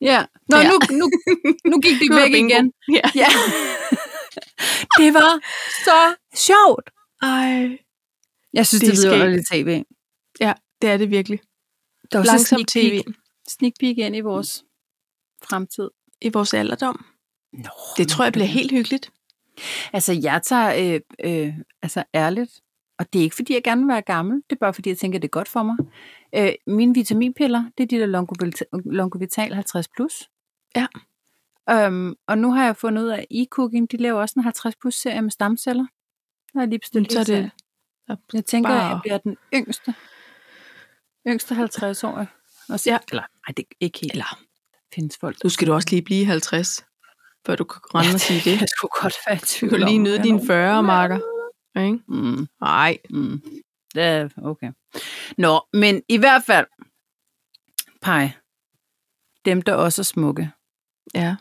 A: Ja. Nå,
B: Ja.
A: Nu, nu, nu gik de
B: Nu er
A: væk
B: bingo.
A: igen.
B: Ja.
A: Ja. det var så sjovt.
B: Ej.
A: Jeg synes,
B: Det
A: det,
B: er
A: det er
B: skægt.
A: vidunderligt tv.
B: Ja, det er det virkelig.
A: Der var så
B: Langsom
A: sneak peek,
B: tv
A: sneak peek ind i vores fremtid.
B: i vores alderdom.
A: Nå,
B: Det tror jeg bliver helt hyggeligt.
A: Altså, jeg tager øh, øh, altså ærligt, og det er ikke, fordi jeg gerne vil være gammel, det er bare, fordi jeg tænker, det er godt for mig. Øh, mine vitaminpiller, det er de der Longovita- Longovital 50+. Plus.
B: Ja.
A: Øhm, og nu har jeg fundet ud af, at e-cooking, de laver også en 50 plus serie med stamceller. Der er lige bestilt
B: Så er
A: en serie.
B: det...
A: Jeg tænker, at
B: bare-
A: jeg bliver den yngste. Yngste 50 år. Og så,
B: Ja.
A: Eller, nej, det er ikke helt.
B: Eller,
A: findes folk.
B: nu skal du også lige blive 50, før du kan rende og sige det.
A: Jeg skulle godt være i
B: Du
A: tvivl
B: kan
A: om,
B: lige
A: om
B: nyde
A: jeg
B: dine
A: når-
B: 40 marker. Ikke?
A: Mm,
B: Nej.
A: mm. Det er, okay. Nå, men i hvert fald, pej, dem der også er smukke,
B: Ja.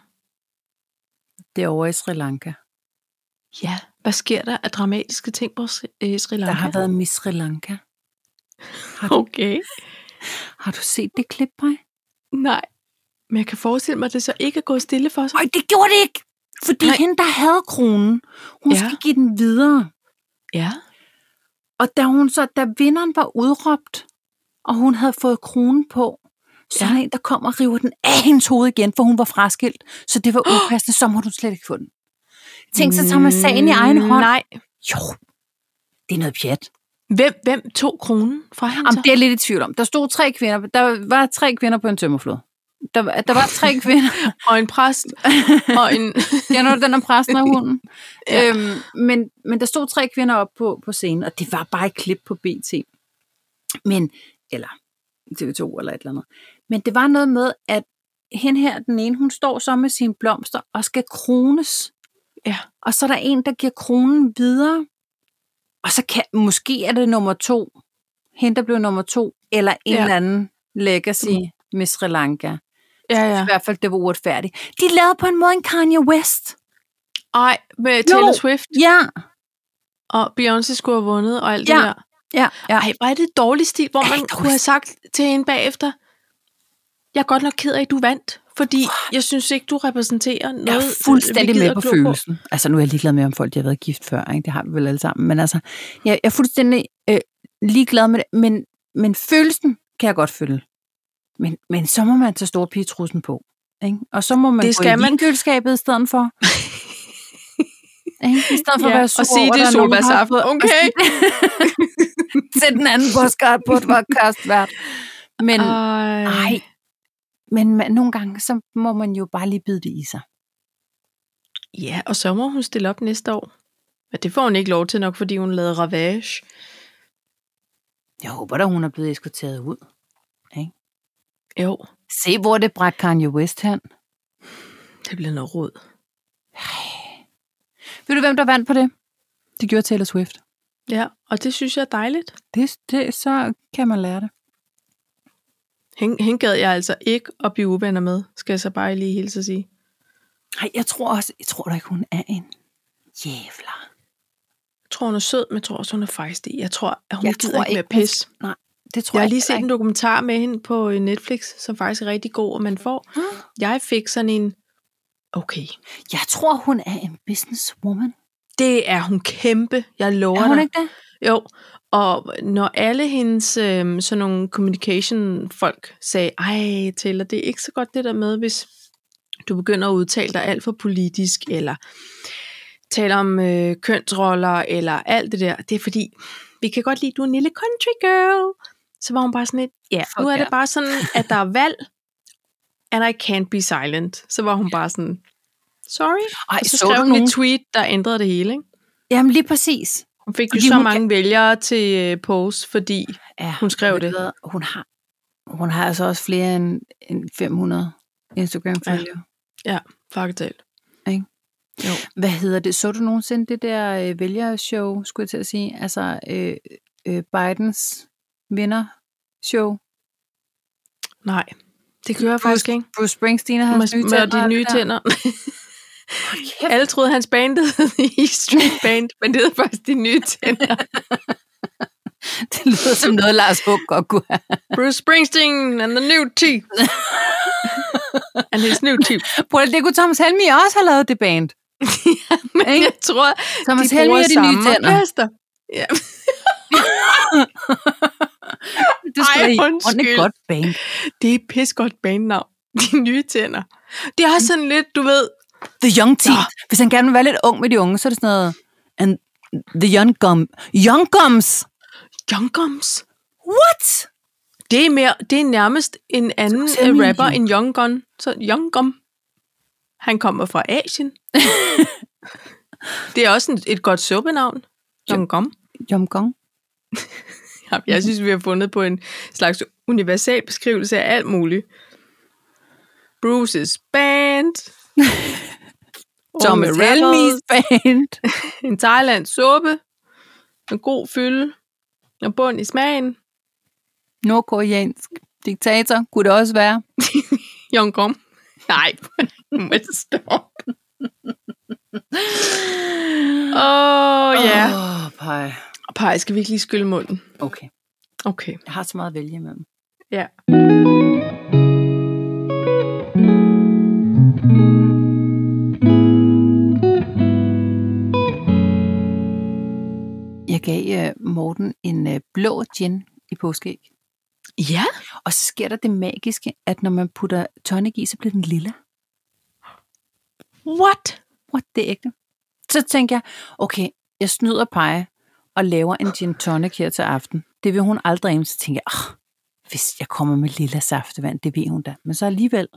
A: det er over i Sri Lanka.
B: Ja. Hvad sker der af dramatiske ting på Sri, øh, Sri Lanka?
A: Der har været Miss Sri Lanka.
B: Okay.
A: Har du set det klip, pej?
B: Nej. Men jeg kan forestille mig, at det så ikke er gået stille for sig.
A: Nej, det gjorde det ikke! Fordi
B: Nej.
A: hende, der havde kronen, hun
B: Ja.
A: ja. skal give den videre.
B: Ja.
A: Og da hun så, da vinderen var udråbt, og hun havde fået kronen på, Så ja. er der en, der kommer og river den af hendes hoved igen, for hun var fraskilt. Så det var upassende, så må du slet ikke få den. Tænk, så tager man sagen i egen hånd.
B: Nej.
A: Jo, det er noget pjat.
B: Hvem, hvem tog kronen fra hende
A: Jamen,
B: så?
A: det er jeg lidt i tvivl om. Der stod tre kvinder. Der var tre kvinder på en tømmerflod. Der, var- der var tre kvinder.
B: Og en præst, og en...
A: Jeg nåede den om præsten og hunden. ja. øhm, men, men der stod tre kvinder op på, på scenen, og det var bare et klip på BT. Men, eller TV2 eller et eller andet. Men det var noget med, at hen her, den ene, hun står så med sine blomster og skal krones.
B: Ja.
A: Og så er der en, der giver kronen videre. Og så kan, måske er det nummer to. Hende, der blev nummer to. Eller en
B: Ja.
A: ja. eller anden legacy mm. med Sri Lanka.
B: Ja,
A: I
B: ja.
A: hvert fald, det var uretfærdigt. De lavede på en måde en Kanye West.
B: Ej, med Taylor
A: Jo.
B: Swift,
A: Ja,
B: og Beyoncé skulle have vundet, og alt
A: Ja.
B: det der.
A: ja, ja.
B: Ej, hvor er det dårlig stil, hvor man
A: Rigtig
B: kunne have sagt til hende bagefter, jeg er godt nok ked af, at du vandt, fordi jeg synes ikke, du repræsenterer noget. øh,
A: Jeg er
B: vi
A: fuldstændig
B: gider
A: med på
B: glo
A: følelsen. Altså, nu er jeg ligeglad med, om folk de har været gift før. Ikke? Det har vi vel alle sammen. Men altså, jeg, jeg er fuldstændig øh, ligeglad med det. Men, men følelsen kan jeg godt følge. Men, men så må man tage storpigetrussen på. Ikke? Og så må man
B: Det skal
A: gå i
B: man.
A: vinkøleskabet i stedet for. Ikke? I stedet for at
B: Ja,
A: være
B: og
A: sur
B: sige,
A: over,
B: det
A: der
B: er
A: nogen, der har
B: solbærsaften.
A: fået-
B: Okay.
A: Sæt den anden podcast på et podcastvært. Men,
B: Ah.
A: uh,
B: Ej,
A: ej, men man, nogle gange, så må man jo bare lige bide det i sig.
B: ja, og så må hun stille op næste år. Men det får hun ikke lov til nok, fordi hun lavede ravage.
A: Jeg håber da, hun er blevet eskorteret ud.
B: Jo,
A: Se, hvor det bræt Kanye West hen.
B: det bliver noget råd.
A: Ved du, hvem der vandt på det? Det gjorde Taylor Swift.
B: Ja, og det synes jeg er dejligt.
A: Det, det, så kan man lære det.
B: Hende, hende gad jeg altså ikke at blive uvenner med, skal jeg så bare lige hilse at sige.
A: Nej, jeg tror også, jeg tror da ikke, hun er en jævler.
B: Jeg tror, hun er sød, men jeg tror også, hun er fejstig. Jeg tror, at hun
A: Jeg
B: jeg gider
A: tror
B: ikke mere
A: ikke, hun-
B: pis.
A: Det tror
B: Jeg
A: jeg,
B: har lige set
A: heller
B: en
A: ikke.
B: dokumentar med hende på øh, Netflix, som faktisk er rigtig god, og man får. Jeg fik sådan en, okay,
A: Jeg tror, hun er en businesswoman.
B: det er hun kæmpe, jeg lover
A: Er hun
B: dig.
A: ikke det?
B: Jo, og når alle hendes øh, sådan nogle communication folk sagde, ej Taylor, det er ikke så godt det der med, hvis du begynder at udtale dig alt for politisk, eller tale om øh, kønsroller, eller alt det der, det er fordi, vi kan godt lide, at du er en lille country girl. Så var hun bare sådan lidt, ja,
A: Fuck
B: nu er det
A: ja.
B: bare sådan, at der er valg, and I can't be silent. Så var hun bare sådan, sorry.
A: Ej,
B: Og så,
A: så
B: skrev
A: du
B: hun
A: nogen?
B: et tweet, der ændrede det hele, ikke?
A: Jamen lige præcis.
B: Hun fik jo
A: Fordi
B: så
A: hun
B: mange vælgere til øh, Pose, fordi
A: Ja,
B: hun skrev
A: ved
B: det.
A: du hvad? Hun har, hun har altså også flere end, end 500 Instagram-følgere.
B: Faktuelt.
A: Hvad hedder det? Så du nogensinde det der øh, vælgershow, skulle jeg til at sige? Altså øh, øh, Bidens vindershow?
B: Nej, det gør jeg faktisk ikke.
A: Bruce Springsteen har hans
B: Med,
A: nye
B: med
A: tænder.
B: de nye tænder.
A: Kæft,
B: Alle troede, hans band hed i Street Band, men det er faktisk de nye tænder.
A: det lyder som noget, Lars Buk godt kunne have.
B: Bruce Springsteen and the new teeth. and his new teeth.
A: Prøv at- det kunne Thomas Helmi også have lavet det band.
B: Men jeg tror,
A: Thomas
B: de
A: Helmi
B: bruger
A: og de nye
B: samme
A: tænder.
B: orkester. Ja,
A: Det skulle
B: Ej,
A: Ej,
B: undskyld.
A: et godt band.
B: det er et pissegodt bandnavn. De nye tænder. Det er også sådan lidt, du ved,
A: The Young Teeth. Hvis han gerne vil være lidt ung med de unge, så er det sådan noget... And the Young Gum. Young Gums!
B: Young Guns.
A: What?
B: Det er, mere, det er nærmest en anden
A: Så er min
B: øh, rapper
A: jo-
B: end Young Gun. Så Young Gun. Han kommer fra Asien. det er også en, et godt suppenavn. Young Gun.
A: Young Gong.
B: Jamen, Jeg synes, vi har fundet på en slags universal beskrivelse af alt muligt. Bruce's Band.
A: Thomas
B: Unge rappers,
A: Helmis band.
B: En thailandsk suppe. En god fylde. Og bund i smagen.
A: Nordkoreansk diktator kunne det også være.
B: Young Gun. Nej, nu må jeg stoppe. Åh, oh, ja. Yeah.
A: Åh, pej.
B: Pej, skal vi ikke lige skylle munden?
A: Okay,
B: Okay.
A: jeg har så meget at vælge imellem.
B: Ja.
A: Jeg gav øh, Morten en øh, blå gin i påskeæg.
B: Ja.
A: Og så sker der det magiske, at når man putter tonic i, så bliver den lilla.
B: What?
A: What, det er ægte. Så tænker jeg, okay, jeg snyder pege og laver en gin tonic her til aften. Det vil hun aldrig ane. Så tænker jeg, oh, hvis jeg kommer med lilla saftevand, det ved hun da. Men så alligevel,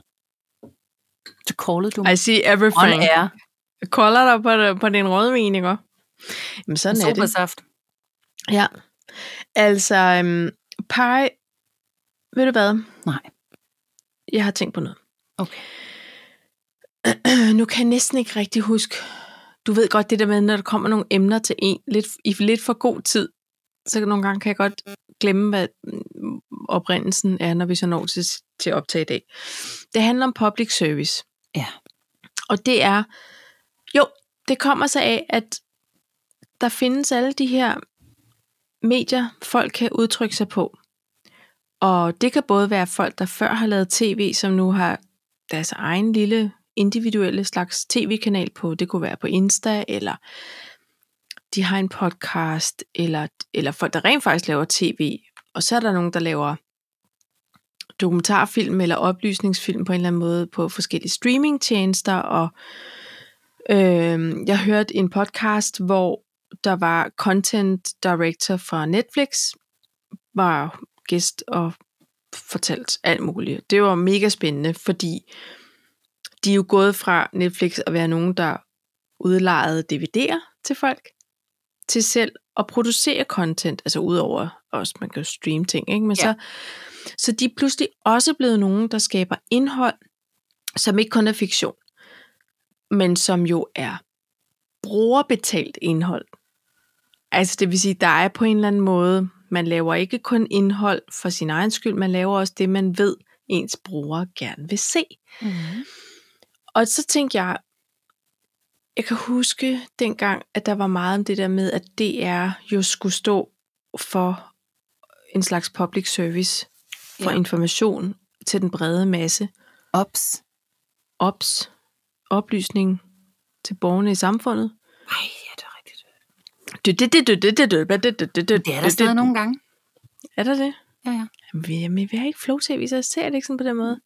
A: så callede du mig
B: I see
A: on
B: everything.
A: air.
B: Kolder dig på, på din rødvin, ikke? Jamen, sådan er det.
A: Sodasaft.
B: Ja. Altså, øhm, pie... Ved du hvad?
A: Nej.
B: Jeg har tænkt på noget.
A: Okay.
B: nu kan jeg næsten ikke rigtig huske. Du ved godt det der med, når der kommer nogle emner til en lidt, i lidt for god tid, så nogle gange kan jeg godt glemme, hvad mm, oprindelsen er, når vi så når til, til at optage i dag. Det handler om public service.
A: Ja.
B: Og det er, jo, det kommer sig af, at der findes alle de her medier, folk kan udtrykke sig på. Og det kan både være folk, der før har lavet tv, som nu har deres egen lille individuelle slags tv-kanal på. Det kunne være på Insta, eller de har en podcast, eller, eller folk, der rent faktisk laver tv. Og så er der nogen, der laver dokumentarfilm eller oplysningsfilm på en eller anden måde på forskellige streamingtjenester. Og øh, jeg hørte en podcast, hvor der var content director fra Netflix, var gæst og fortalt alt muligt. Det var mega spændende, fordi de er jo gået fra Netflix at være nogen, der udlejede DVD'er til folk, til selv at producere content, altså udover også, man kan jo streame ting, ikke? Men
A: Ja.
B: ja. så, så de er pludselig også blevet nogen, der skaber indhold, som ikke kun er fiktion, men som jo er brugerbetalt indhold. Altså det vil sige, der er på en eller anden måde, man laver ikke kun indhold for sin egen skyld, man laver også det, man ved, ens brugere gerne vil se.
A: Mm-hmm.
B: Og så tænkte jeg, jeg kan huske dengang, at der var meget om det der med, at DR jo skulle stå for en slags public service for
A: Ja.
B: ja. information til den brede masse.
A: Ops.
B: Ops, oplysning til borgerne i samfundet.
A: Ej, ja, det er rigtigt.
B: Det
A: Det er der stadig nogle gange.
B: Er der det?
A: Ja, ja.
B: Jamen, vi, jamen, vi har ikke flow tv, så jeg ser det ikke sådan på den måde.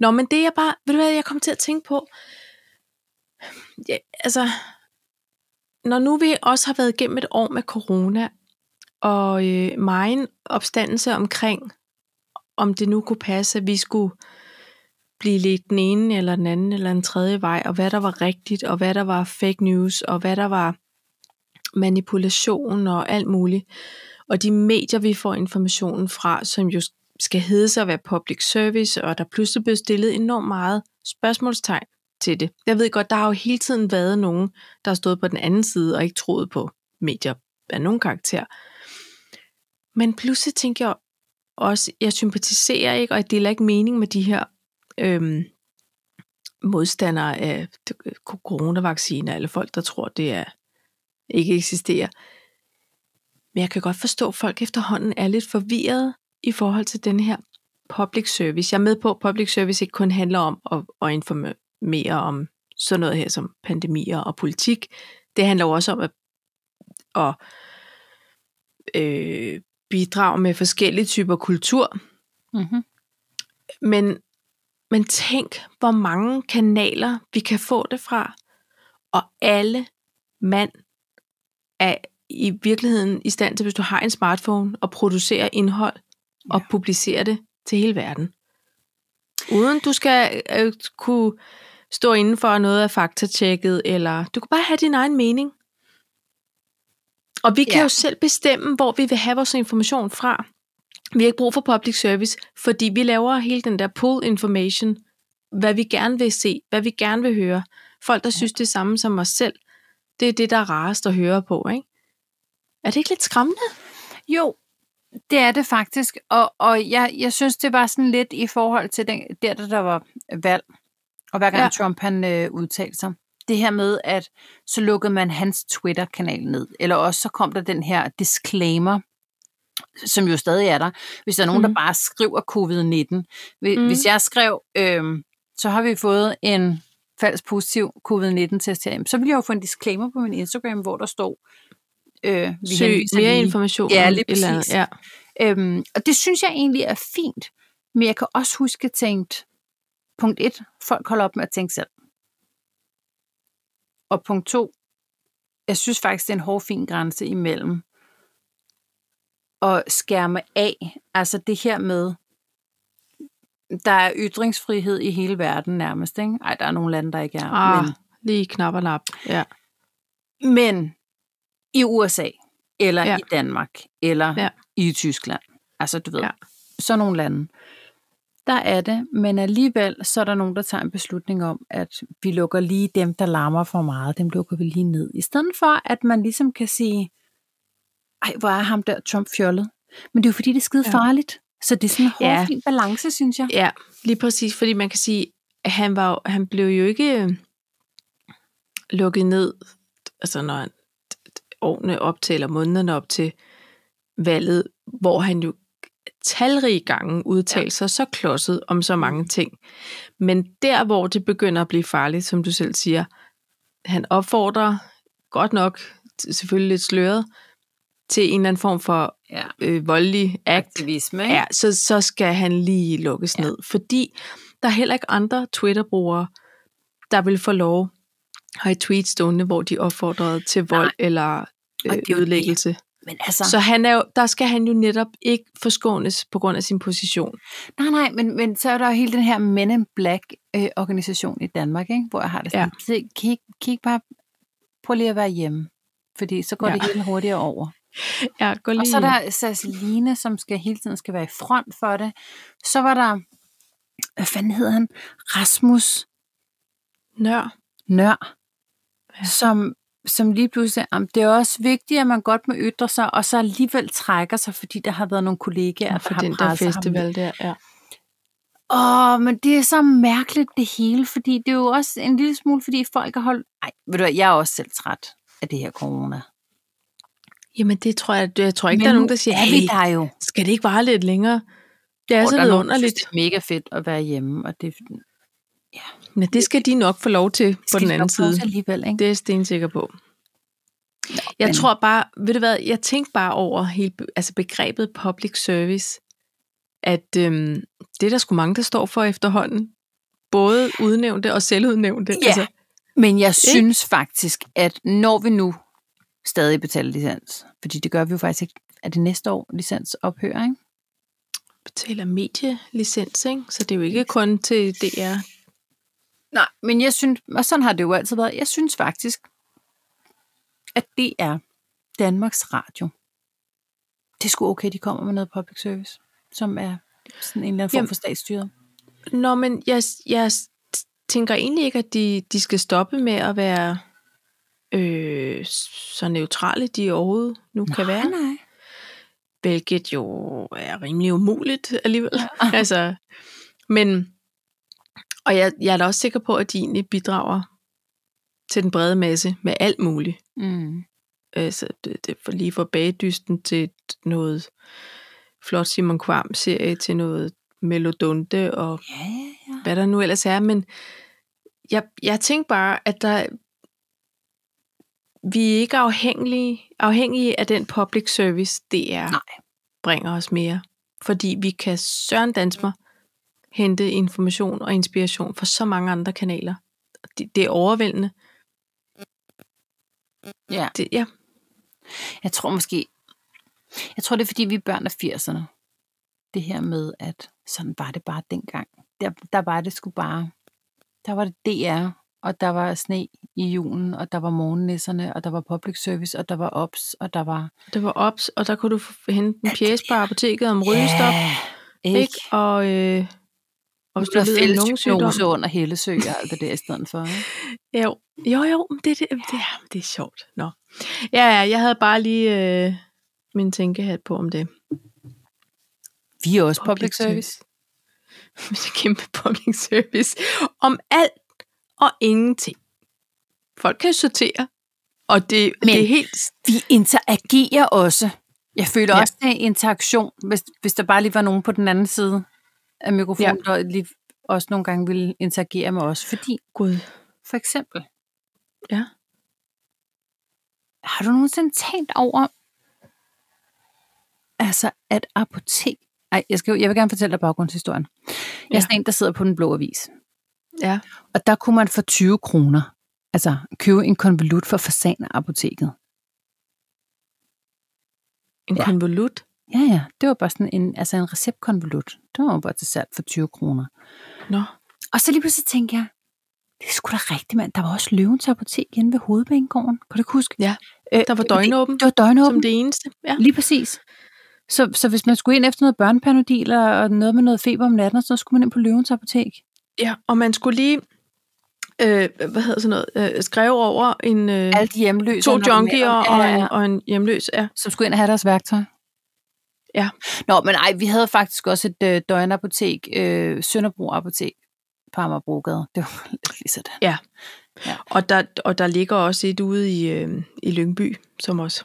B: Nå, men det er bare, ved du hvad, jeg kom til at tænke på, ja, altså, når nu vi også har været igennem et år med corona, og øh, megen opstandelse omkring, om det nu kunne passe, at vi skulle blive lidt den ene eller den anden eller den tredje vej, og hvad der var rigtigt, og hvad der var fake news, og hvad der var manipulation og alt muligt. Og de medier, vi får informationen fra, som jo skal hedde sig at være public service, og der pludselig blev stillet enormt meget spørgsmålstegn til det. Jeg ved godt, der har jo hele tiden været nogen, der har stået på den anden side og ikke troet på medier af nogen karakter. Men pludselig tænker jeg også, jeg sympatiserer ikke, og jeg deler ikke mening med de her øhm, modstandere af t- coronavacciner, eller folk, der tror, det er, ikke eksisterer. Men jeg kan godt forstå, at folk efterhånden er lidt forvirrede i forhold til den her public service. Jeg er med på, at public service ikke kun handler om at, at informere om sådan noget her som pandemier og politik. Det handler jo også om at, at øh, bidrage med forskellige typer kultur.
A: Mm-hmm.
B: Men, men tænk, hvor mange kanaler vi kan få det fra. Og alle mand er i virkeligheden i stand til, hvis du har en smartphone, at producere indhold og
A: Ja.
B: publicere det til hele verden. Uden du skal øh, kunne stå inden for at noget er faktatjekket, eller du kan bare have din egen mening. Og vi kan
A: Ja.
B: ja. jo selv bestemme, hvor vi vil have vores information fra. Vi har ikke brug for public service, fordi vi laver hele den der pool information, hvad vi gerne vil se, hvad vi gerne vil høre. Folk, der synes det samme som os selv, det er det, der er rarest at høre på, ikke? Er det ikke lidt skræmmende?
A: Jo, det er det faktisk. Og, og jeg, jeg synes, det var sådan lidt i forhold til den, der, da der var valg. Og hver gang ja.
B: Ja.
A: Trump han øh, udtalte sig. Det her med, at så lukkede man hans Twitter-kanal ned. Eller også så kom der den her disclaimer, som jo stadig er der. Hvis der er nogen, mm. der
B: Mhm.
A: bare skriver covid-19. Hvis, mm.
B: Mhm.
A: hvis jeg skrev, øh, så har vi fået en falsk positiv covid-19-test her. Jamen, Så ville jeg jo få en disclaimer på min Instagram, hvor der står, øh, vi
B: Søg
A: henviser
B: mere
A: lige-
B: information.
A: Ja,
B: om
A: lige
B: et eller andet.
A: præcis.
B: Ja.
A: Øhm, og det synes jeg egentlig er fint, men jeg kan også huske, at jeg tænkte, punkt et, folk holder op med at tænke selv. Og punkt to, jeg synes faktisk, det er en hård, fin grænse imellem at skærme af, altså det her med, der er ytringsfrihed i hele verden nærmest, ikke? Ej, der er nogle lande, der ikke er.
B: Ah,
A: Men,
B: lige knap og lap. Ja.
A: men i USA, eller
B: Ja.
A: ja. i Danmark, eller
B: Ja.
A: ja. i Tyskland, altså du ved,
B: Ja.
A: ja. sådan nogle lande, der er det, men alligevel, så er der nogen, der tager en beslutning om, at vi lukker lige dem, der larmer for meget, dem lukker vi lige ned. I stedet for, at man ligesom kan sige, ej, hvor er ham der Trump fjollet. Men det er jo fordi, det er skide
B: Ja.
A: farligt. Så det er sådan en hård,
B: Ja.
A: ja. fin balance, synes jeg.
B: Ja, lige præcis, fordi man kan sige, at han, var, jo- han blev jo ikke øh, lukket ned, altså når han- årene op til, eller månederne op til valget, hvor han jo talrige gange udtalte ja. sig så klodset om så mange ting. Men der, hvor det begynder at blive farligt, som du selv siger, han opfordrer godt nok, t- selvfølgelig lidt sløret, til en eller anden form for
A: Ja.
B: øh, voldelig act,
A: Aktivisme,
B: Ja, så, så skal han lige lukkes ja. ned, fordi der er heller ikke andre Twitter-brugere, der vil få lov at have tweets stående, hvor de opfordrede til vold Nej. eller
A: Og
B: øh,
A: det er jo det.
B: ødelæggelse.
A: Men altså,
B: Så han er jo, der skal han jo netop ikke forskånes på grund af sin position.
A: Nej, nej, men, men så er der jo hele den her Men in Black-organisation i Danmark, ikke? hvor jeg har det sådan, ja. se, kan, I, ikke- kan I ikke bare prøve lige at være hjemme? Fordi så går
B: Ja.
A: ja. det hele hurtigere over.
B: Ja, gå lige.
A: Og så er der Sasseline, som skal hele tiden skal være i front for det. Så var der, hvad fanden hedder han? Rasmus
B: Nør.
A: Nør, ja. som, som lige pludselig, om det er også vigtigt, at man godt må ytre sig, og så alligevel trækker sig, fordi der har været nogle kollegaer,
B: for
A: der har
B: den der
A: presset ham
B: festival der. Ja.
A: Åh, men det er så mærkeligt det hele, fordi det er jo også en lille smule, fordi folk har holdt... Ej, ved du hvad, jeg er også selv træt af det her corona.
B: Jamen det tror jeg, det- jeg tror ikke,
A: men
B: der er
A: nu
B: nogen, der siger,
A: er vi
B: hey,
A: der jo.
B: skal det ikke vare lidt længere? Det er
A: Og
B: så
A: der er nogen, der synes,
B: underligt.
A: Det er mega fedt at være hjemme, og det
B: Men det skal de nok få lov til på
A: skal
B: den
A: de
B: anden
A: nok få lov
B: side.
A: til alligevel, ikke?
B: Det er jeg stensikker på. Jeg
A: men-
B: tror bare, ved du hvad, jeg tænkte bare over hele, be- altså begrebet public service, at øhm, det er der sgu mange, der står for efterhånden. Både udnævnte og selvudnævnte. altså,
A: Ja. Men jeg synes faktisk, at når vi nu stadig betaler licens, fordi det gør vi jo faktisk ikke, er det næste år licens ophører, ikke?
B: betaler medielicens, ikke? så det er jo ikke kun til DR.
A: Nej, men jeg synes, og sådan har det jo altid været, jeg synes faktisk, at det er Danmarks Radio. Det er sgu okay, de kommer med noget public service, som er sådan en eller anden form
B: Jamen.
A: for statsstyret.
B: Nå, men jeg, jeg tænker egentlig ikke, at de, de skal stoppe med at være øh, så neutrale, de overhovedet nu kan være.
A: nej.
B: hvilket jo er rimelig umuligt alligevel. Ja. altså, men, og jeg, jeg er da også sikker på, at de egentlig bidrager til den brede masse med alt muligt.
A: Mm.
B: Altså, det, det er for lige fra bagdysten til noget flot Simon Kvam-serie, til noget Melodunte og
A: Ja, ja, ja.
B: hvad der nu ellers er, men jeg, jeg tænkte bare, at der, vi er ikke afhængige, afhængige af den public service, det er
A: Nej.
B: bringer os mere. Fordi vi kan søren dansmer hente information og inspiration fra så mange andre kanaler. Det, det er overvældende.
A: ja.
B: Det, ja,
A: Jeg tror måske, jeg tror det er fordi, vi er børn af 80'erne. Det her med, at sådan var det bare dengang. Der, der var det sgu bare, der var det DR, og der var sne i julen, og der var morgennisserne, og der var public service, og der var ops, og der var
B: det var ops, og der kunne du f- hente en
A: det
B: pjæse på apoteket om rygestop,
A: Ja,
B: yeah.
A: ikke?
B: ikke? Og, øh, og
A: Og
B: hvis du lider af nogen sygdom.
A: diagnose under Hellesø og alt det der i stedet for. Ikke?
B: Jo, jo, jo men det, det, det, er, det er sjovt. Nå. Ja, ja, jeg havde bare lige øh, min tænkehat på om det.
A: Vi er også public service.
B: service. Det er kæmpe public service. Om alt og ingenting. Folk kan sortere, og det,
A: Men-
B: det er helt...
A: Vi interagerer også. Jeg føler
B: Ja.
A: ja. også, det er interaktion, hvis, hvis der bare lige var nogen på den anden side af mikrofonen, ja. der lige også nogle gange ville interagere med os. Fordi,
B: Gud.
A: for eksempel,
B: Ja.
A: har du nogensinde tænkt over, at altså at apotek... Ej, jeg, skal, jo- jeg vil gerne fortælle dig baggrundshistorien. Jeg er
B: Ja.
A: sådan en, der sidder på den blå avis.
B: Ja.
A: Og der kunne man for 20 kroner, altså købe en konvolut for fasan af apoteket.
B: En
A: Ja.
B: ja. konvolut.
A: Ja, ja, det var bare sådan en, altså en receptkonvolut. Det var jo bare til salg for 20 kroner.
B: Nå.
A: Og så lige pludselig tænkte jeg, det skulle sgu da rigtigt, mand. Der var også løvens apotek inde ved hovedbanegården. Kan du ikke huske?
B: Ja,
A: Øh,
B: Der var
A: det-
B: døgnåben
A: Det var
B: som
A: døgnåben.
B: det eneste. Ja.
A: Lige præcis. Så, så hvis man skulle ind efter noget børnepanodil og og noget med noget feber om natten, og sådan noget, så skulle man ind på løvens apotek.
B: ja. Og man skulle lige, øh, hvad hedder sådan noget, øh, skrive over en, øh,
A: Alle de hjemløse.
B: to
A: og narkomaner.
B: junkier
A: Ja, ja,
B: og,
A: ja.
B: en, og en hjemløs. Ja.
A: som skulle ind og have deres værktøj.
B: Ja.
A: Nå, men ej, vi havde faktisk også et øh, døgnapotek, øh, Sønderbro Apotek på Amagerbrogade. Det var lidt lige sådan.
B: Og, der, og der ligger også et ude i, øh, i Lyngby, som også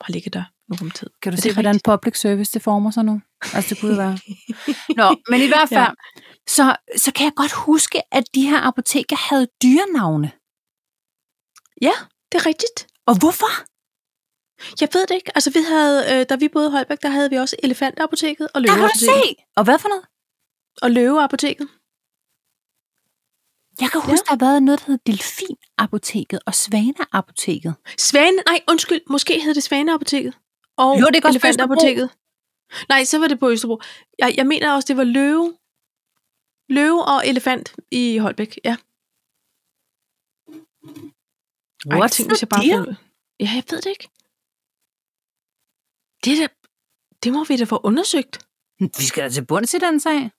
B: har ligget der nu om tid.
A: Kan du
B: Er
A: se,
B: det
A: hvordan
B: rigtigt?
A: public service det former sig nu? Altså, det kunne det være. Nå, men i hvert fald, ja.
B: Ja.
A: så, så kan jeg godt huske, at de her apoteker havde dyrenavne.
B: Det er rigtigt.
A: Og hvorfor?
B: Jeg ved det ikke. Altså, vi havde, øh, da vi boede i Holbæk, der havde vi også elefantapoteket og
A: Der kan Ah, du
B: løveapoteket.
A: se! Og hvad for noget?
B: Og løveapoteket.
A: Jeg kan huske, ja. der har været noget, der hed Delfinapoteket og Svaneapoteket.
B: Svane, nej, undskyld, måske hed det Svaneapoteket. Og
A: Jo, det kan også være
B: elefantapoteket. Nej, så var det på Østerbro. Jeg, jeg mener også, det var løve. Løve og elefant i Holbæk, ja.
A: What
B: tænk,
A: the deal?
B: fandt ud- Ja, jeg ved det ikke. Det, der, det må vi da få undersøgt.
A: Vi skal da til bunds i den sag.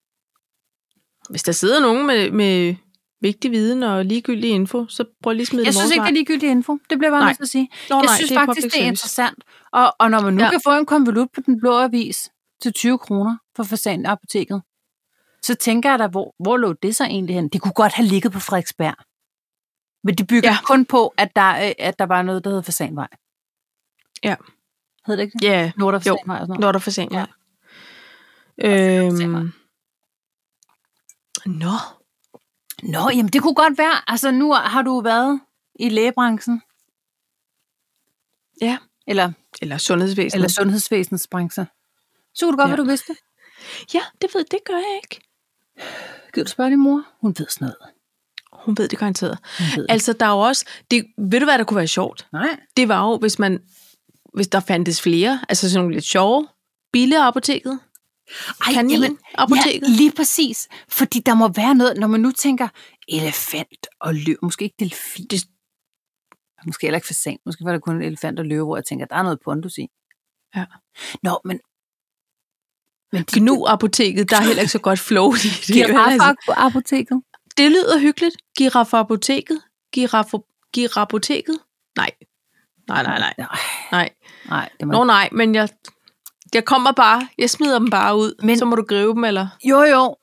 B: Hvis der sidder nogen med, med vigtig viden og ligegyldig info, så prøv lige at smide
A: Jeg
B: det
A: synes
B: vores
A: ikke, det er
B: vej.
A: ligegyldig info. Det bliver jeg bare
B: Nej.
A: nødt til at sige.
B: Nå,
A: Jeg
B: nej,
A: synes
B: det er
A: faktisk,
B: public
A: det er
B: service.
A: interessant. Og, og når man nu ja.
B: Ja.
A: kan få en konvolut på den blå avis til 20 kroner for fasan apoteket, så tænker jeg da, hvor, hvor lå det så egentlig hen? Det kunne godt have ligget på Frederiksberg. Men det bygger ja.
B: Ja.
A: kun på, at der, øh, at der var noget, der hed Fasanvej.
B: Ja.
A: Hed det ikke det?
B: Ja,
A: Nordre
B: Jo.
A: Fasanvej og sådan noget.
B: Når der forsinker. Ja.
A: forsinker.
B: Øhm. Nå.
A: Nå, jamen det kunne godt være. Altså nu har du været i lægebranchen.
B: Ja.
A: Eller,
B: Eller sundhedsvæsenet.
A: eller sundhedsvæsenets branche. Så kunne det godt, ja.
B: Ja.
A: hvad du vidste.
B: Ja, det ved det gør jeg ikke.
A: Gider du spørge din mor? Hun ved sådan noget.
B: Hun ved det garanteret.
A: Hun ved det.
B: Altså, der er jo også... Det, ved du, hvad der kunne være sjovt?
A: Nej.
B: Det var jo, hvis man... Hvis der fandtes flere, altså sådan nogle lidt sjove. Billeapoteket.
A: Ej, jamen,
B: Kaninapoteket.
A: Ja, lige præcis. Fordi der må være noget, når man nu tænker elefant og løv. Måske ikke delfin. Det... Måske heller ikke fasan. Måske var der kun elefant og løve, hvor jeg tænker, der er noget pondus i.
B: Ja.
A: Nå, men... Men de,
B: Gnu-apoteket, der er heller ikke så godt flow i det.
A: giraffer på apoteket.
B: det lyder hyggeligt. Giraffapoteket. Giraffe, girapoteket. Nej. Nej, nej, nej.
A: Nej,
B: nej.
A: nej, det må
B: Nå nej, men jeg, jeg kommer bare, jeg smider dem bare ud,
A: Men-
B: men, så må du gribe dem, eller?
A: Jo, jo.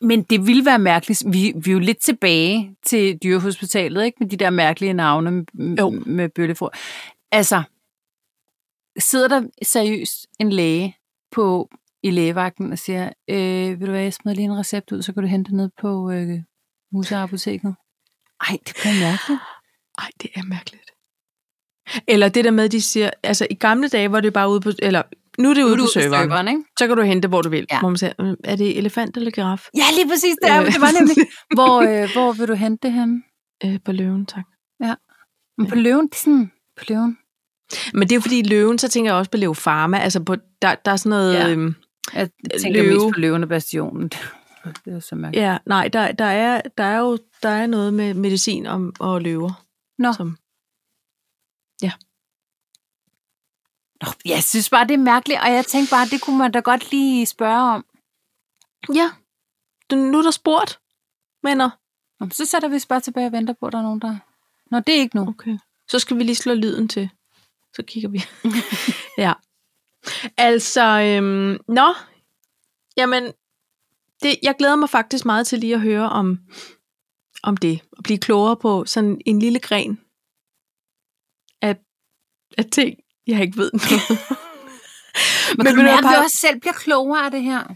A: Men det ville være mærkeligt. Vi, vi er jo lidt tilbage til dyrehospitalet, ikke? Med de der mærkelige navne med,
B: Jo.
A: med bøllefrø. Altså, sidder der seriøst en læge på i lægevagten og siger, øh, vil du være, jeg smider lige en recept ud, så kan du hente den ned på øh, museapoteket. Ej, det bliver mærkeligt.
B: Ej, det er mærkeligt. Eller det der med, de siger, altså i gamle dage var det bare ude på, eller nu er det ude, på serveren,
A: ikke?
B: så kan du hente, hvor du vil.
A: Ja.
B: Ja. Hvor man siger, "Mm, er det elefant eller giraf?
A: Ja, lige præcis det er, men det var nemlig, hvor, øh, hvor vil du hente det henne?
B: Øh, på løven, tak.
A: Men på løven, det er sådan, på løven.
B: Men det er jo fordi løven, så tænker jeg også på leofarma, altså på, der, der er sådan noget,
A: Ja.
B: ja. øhm,
A: Jeg tænker Øh, løve.
B: Løve.
A: mest på løven og bastionen. Det er så mærkeligt.
B: ja, nej, der, der, er, der er jo der er noget med medicin og, og løver.
A: Nå.
B: Som,
A: Nå, jeg synes bare, det er mærkeligt, og jeg tænkte bare, det kunne man da godt lige spørge om.
B: ja, Du- nu er der spurgt, mener.
A: Nå, men så sætter vi os bare tilbage og venter på, at der er nogen, der... Nå, det er ikke nu.
B: Okay. Så skal vi lige slå lyden til. Så kigger vi. ja. Altså, øhm, nå. Jamen, det, jeg glæder mig faktisk meget til lige at høre om, om det. At blive klogere på sådan en lille gren af, af ting, jeg ikke ved noget.
A: Men, men
B: ved
A: kan
B: du
A: du
B: hvad,
A: mærke, at vi
B: Paj?
A: også selv bliver klogere af det her?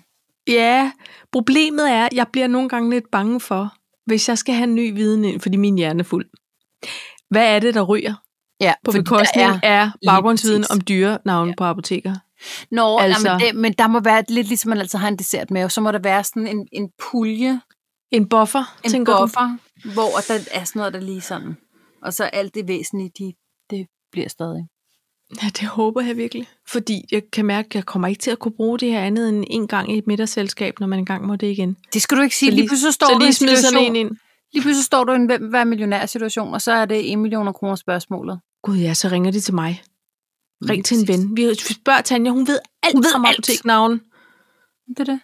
B: Ja, problemet er, at jeg bliver nogle gange lidt bange for, hvis jeg skal have ny viden ind, fordi min hjerne er fuld. Hvad er det, der ryger
A: Ja,
B: på bekostning
A: er,
B: af
A: lige
B: baggrundsviden
A: præcis.
B: om dyrenavne ja. på apoteker?
A: Nå, altså,
B: Altså-
A: jamen, det, men der må være lidt ligesom, man altid har en dessert med, og så må der være sådan en, en pulje,
B: En buffer,
A: en
B: tænker du?
A: buffer, hvor der er sådan noget, der lige sådan. Og så alt det væsentlige, de, det bliver stadig.
B: Ja, det håber jeg virkelig. Fordi jeg kan mærke, at jeg kommer ikke til at kunne bruge det her andet end en gang i et middagsselskab, når man engang må det igen.
A: Det skal du ikke sige.
B: Så
A: Lige,
B: lige-
A: pludselig står
B: Så
A: du i
B: lige
A: en
B: smid sådan en
A: situation,
B: ind.
A: lige pludselig står du i en hvem være millionær situation, og så er det 1 millioner kroner spørgsmålet.
B: Gud ja, så ringer de til mig. Ring til en
A: præcis.
B: ven. Vi spørger Tanja, hun ved alt
A: Hun ved
B: om
A: alt.
B: apoteknavn.
A: Det er det.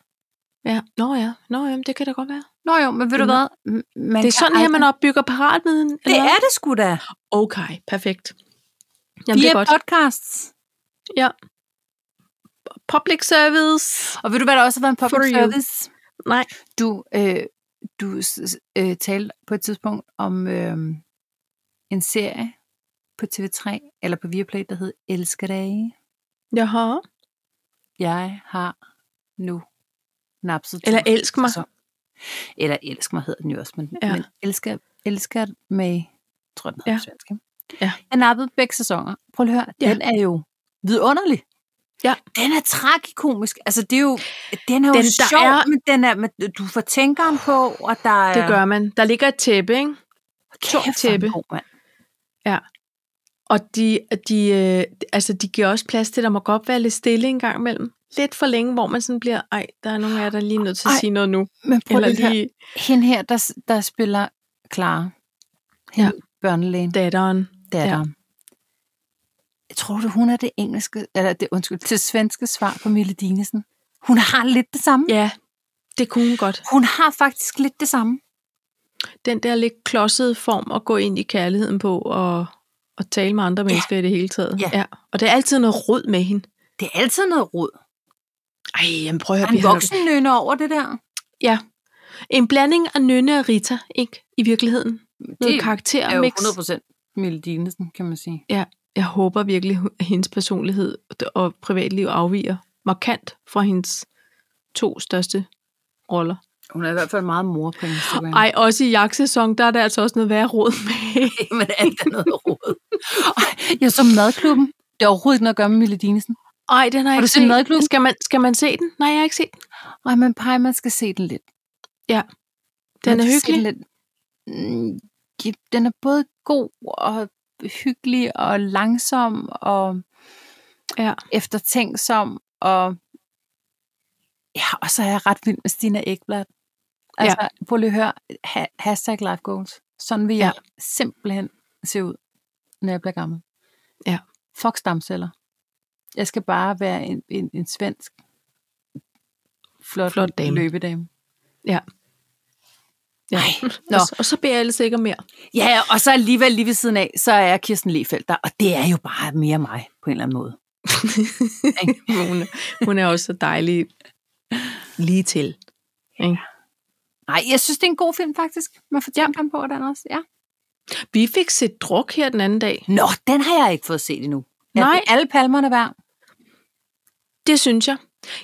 B: Ja, nå ja, nå ja, men det kan da godt være.
A: Nå jo, men ved du
B: Det
A: hvad? M- Man
B: det er
A: kan
B: sådan her,
A: aldrig-
B: man opbygger paratviden. eller
A: Mm. Det
B: hvad?
A: er det sgu da.
B: Okay, perfekt. Jamen, det
A: Via
B: er godt.
A: podcasts.
B: Public service.
A: Og ved du, hvad der også har været en public
B: For you.
A: service?
B: Nej.
A: Du, øh, du s- s- øh, talte på et tidspunkt om øh, en serie på TV3, eller på Viaplay, der hed Elsker dig.
B: Jaha.
A: Jeg har nu napset
B: Eller
A: to
B: elsk mig.
A: sæsoner. Eller Elsk mig hedder den jo også, men, ja.
B: Ja.
A: men elsker, elsker med, tror jeg, den hedder
B: Ja.
A: på svensk, ikke?
B: Ja.
A: Jeg nappede begge sæsoner. Prøv lige at høre,
B: Ja.
A: den er jo vidunderlig.
B: Ja.
A: Den er tragikomisk. Altså, det er jo, den er den,
B: Den,
A: jo
B: der
A: sjov, er...
B: er-
A: men den er, men du får tænkeren på, og der er...
B: Det gør man. Der ligger et tæppe, ikke?
A: Kæft, hvor er den
B: tæppe.
A: god, mand.
B: Og de, de, øh, altså, de giver også plads til, at der må godt være lidt stille en gang imellem. Lidt for længe, hvor man sådan bliver, ej, der er nogen af jer, der lige er nødt til at
A: Ej,
B: sige noget nu.
A: Men prøv
B: Eller
A: lige... her.
B: lige
A: Hende her, der, s- der spiller Clara. Ja.
B: Ja.
A: Børnelægen.
B: datteren.
A: datter. Ja. Jeg tror du, hun er det engelske, eller det, undskyld, det svenske svar på Mille Dinesen? Hun har lidt det samme. Ja.
B: Ja, det kunne hun godt.
A: Hun har faktisk lidt det samme.
B: Den der lidt klodsede form at gå ind i kærligheden på og, og tale med andre mennesker i det hele taget.
A: Ja.
B: ja. Og der er altid noget rod med hende.
A: Det er altid noget rod.
B: Ej, jamen prøv at
A: Der
B: høre.
A: er
B: vi
A: en
B: har-
A: voksen nøgne over det der.
B: Ja. En blanding af Nynne og Rita, ikke? I virkeligheden. Noget
A: Det
B: karakter
A: er jo
B: mix.
A: 100% Mille Dinesen, kan man sige.
B: Jeg håber virkelig, at hendes personlighed og privatliv afviger markant fra hendes to største roller.
A: Hun er i hvert fald meget mor på Instagram.
B: Ej, også i jagtsæson, der er der altså også noget værre råd med.
A: men alt er noget rod. Ej, jeg så madklubben. Det er overhovedet ikke noget at gøre med Mille Dinesen.
B: Ej, den har jeg
A: Har du
B: ikke
A: set Madklubben?
B: Skal man, skal man se den? Nej, jeg har ikke set den.
A: Ej, men pej, man skal se den lidt.
B: Den
A: Man
B: er
A: skal se
B: hyggelig.
A: lidt. Mm, ja, Den er både god og hyggelig og langsom og
B: Ja.
A: eftertænksom. Og, ja, og så er jeg ret vild med Stina Ekblad. Altså, ja. prøv lige at høre. Ha- hashtag life goals. Sådan vil jeg ja. simpelthen se ud, når jeg bliver gammel.
B: Ja.
A: Fuck stamceller. Jeg skal bare være en, en, en svensk flot,
B: Flot dame.
A: løbedame.
B: Ja.
A: Ej, nå.
B: Nå. Og, så, og så beder jeg ellers ikke om mere.
A: Ja, og så alligevel lige ved siden af, så er Kirsten Lefeldt der, og det er jo bare mere mig på en eller anden måde.
B: hun, hun er også så dejlig lige til. Ikke?
A: Nej, jeg synes, det er en god film faktisk. Man får tænkt ham på den også, ja.
B: Vi fik set druk her den anden dag.
A: Nå, den har jeg ikke fået set endnu. Er
B: Nej.
A: den alle palmerne værd?
B: Det synes jeg.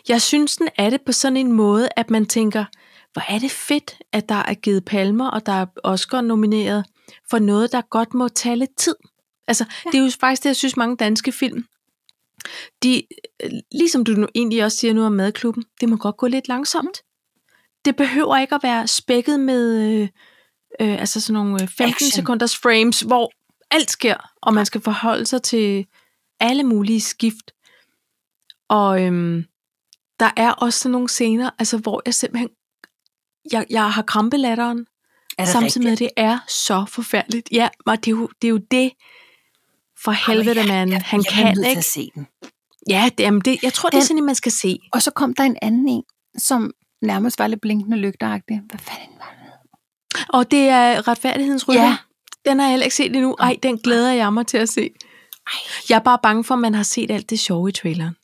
B: Jeg synes, den er det på sådan en måde, at man tænker, hvor er det fedt, at der er givet palmer, og der er Oscar-nomineret for noget, der godt må tage lidt tid. Altså, ja. det er jo faktisk det, jeg synes, mange danske film, de, øh, ligesom du nu egentlig også siger nu om madklubben, det må godt gå lidt langsomt. Det behøver ikke at være spækket med øh, øh, altså sådan nogle øh, 15
A: Action.
B: Action. sekunders frames, hvor alt sker, og man skal forholde sig til alle mulige skift. Og øhm, der er også sådan nogle scener, altså, hvor jeg simpelthen jeg, jeg har krampelatteren,
A: Er det
B: samtidig med, at det er så forfærdeligt. Ja, og det er jo det, er jo det for helvede,
A: jeg-
B: man. Han
A: jeg
B: kan
A: nødt til
B: ikke.
A: at se den.
B: Ja, det, jamen det, jeg tror, det er
A: Den-
B: sådan, at man skal se.
A: Og så kom der en anden en, som nærmest var lidt blinkende lygteragtig. Hvad fanden var det?
B: Og det er retfærdighedens rytter.
A: Ja.
B: Ja. Den har jeg heller ikke set endnu. Ej, den glæder jeg mig til at se. Jeg er bare bange for, at man har set alt det sjove i traileren.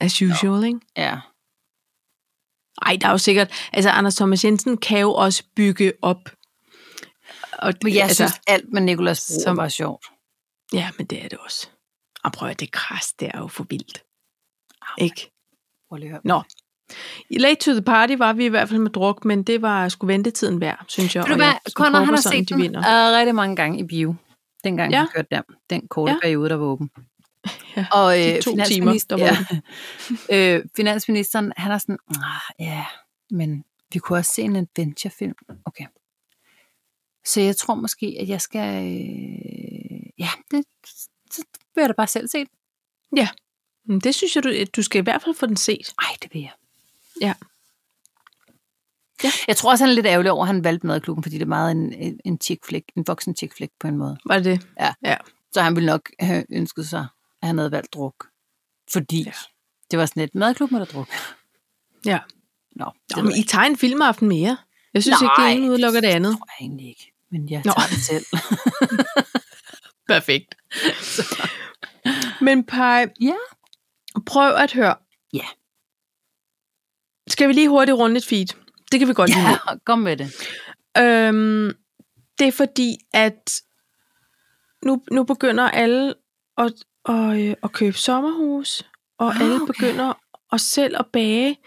B: As usual, ikke?
A: Ja.
B: Ej, der er jo sikkert... Altså, Anders Thomas Jensen kan jo også bygge op. Og,
A: Men jeg
B: altså,
A: synes, alt med Nicolas Bro som...
B: Som-
A: var sjovt.
B: Ja, men det er det også. Og prøv at det kras, det er jo for vildt. Ikke?
A: Prøv lige at høre.
B: Nå. I Late to the party var vi i hvert fald med druk, men det var sgu ventetiden værd, synes jeg.
A: Ved du
B: og
A: hvad,
B: jeg
A: Conor,
B: håber
A: han har
B: sådan,
A: set
B: de
A: den
B: vinder.
A: øh, rigtig mange gange i bio. Dengang ja.
B: Ja.
A: han kørte der, den korte ja.
B: Ja.
A: periode, der var åben.
B: Ja,
A: Og
B: de
A: øh,
B: to
A: finansminis-
B: timer, der var
A: ja. øh, finansministeren, han er sådan, "Ah, ja, men vi kunne også se en adventurefilm. Okay. Så jeg tror måske, at jeg skal, øh, ja, det, så vil jeg da bare selv se den.
B: Men Mm, det synes jeg, du, du skal i hvert fald få den set.
A: Ej, det vil jeg.
B: Ja.
A: Ja. Jeg tror også, han er lidt ærgerlig over, at han valgte madklubben, fordi det er meget en, en, en, chick flick, en voksen chick flick på en måde.
B: Var det det?
A: Så han ville nok have ønsket sig, at han havde valgt druk. Fordi ja.
B: Ja.
A: det var sådan et madklub med druk.
B: Ja.
A: Nå, det ved
B: Nå, men
A: jeg
B: I
A: ikke.
B: tager en filmaften mere. Jeg synes Nej. ikke, det ene udelukker det andet.
A: tror jeg egentlig ikke. Men jeg
B: Nå.
A: tager det selv.
B: Perfekt. Men Paj,
A: Ja.
B: prøv at høre.
A: Ja.
B: Skal vi lige hurtigt runde et feed? Det kan vi godt lide.
A: ja, kom med det.
B: Øhm, det er fordi, at nu, nu begynder alle at, at, øh, at købe sommerhus, og
A: Ah,
B: oh, alle
A: okay.
B: okay. begynder at selv at bage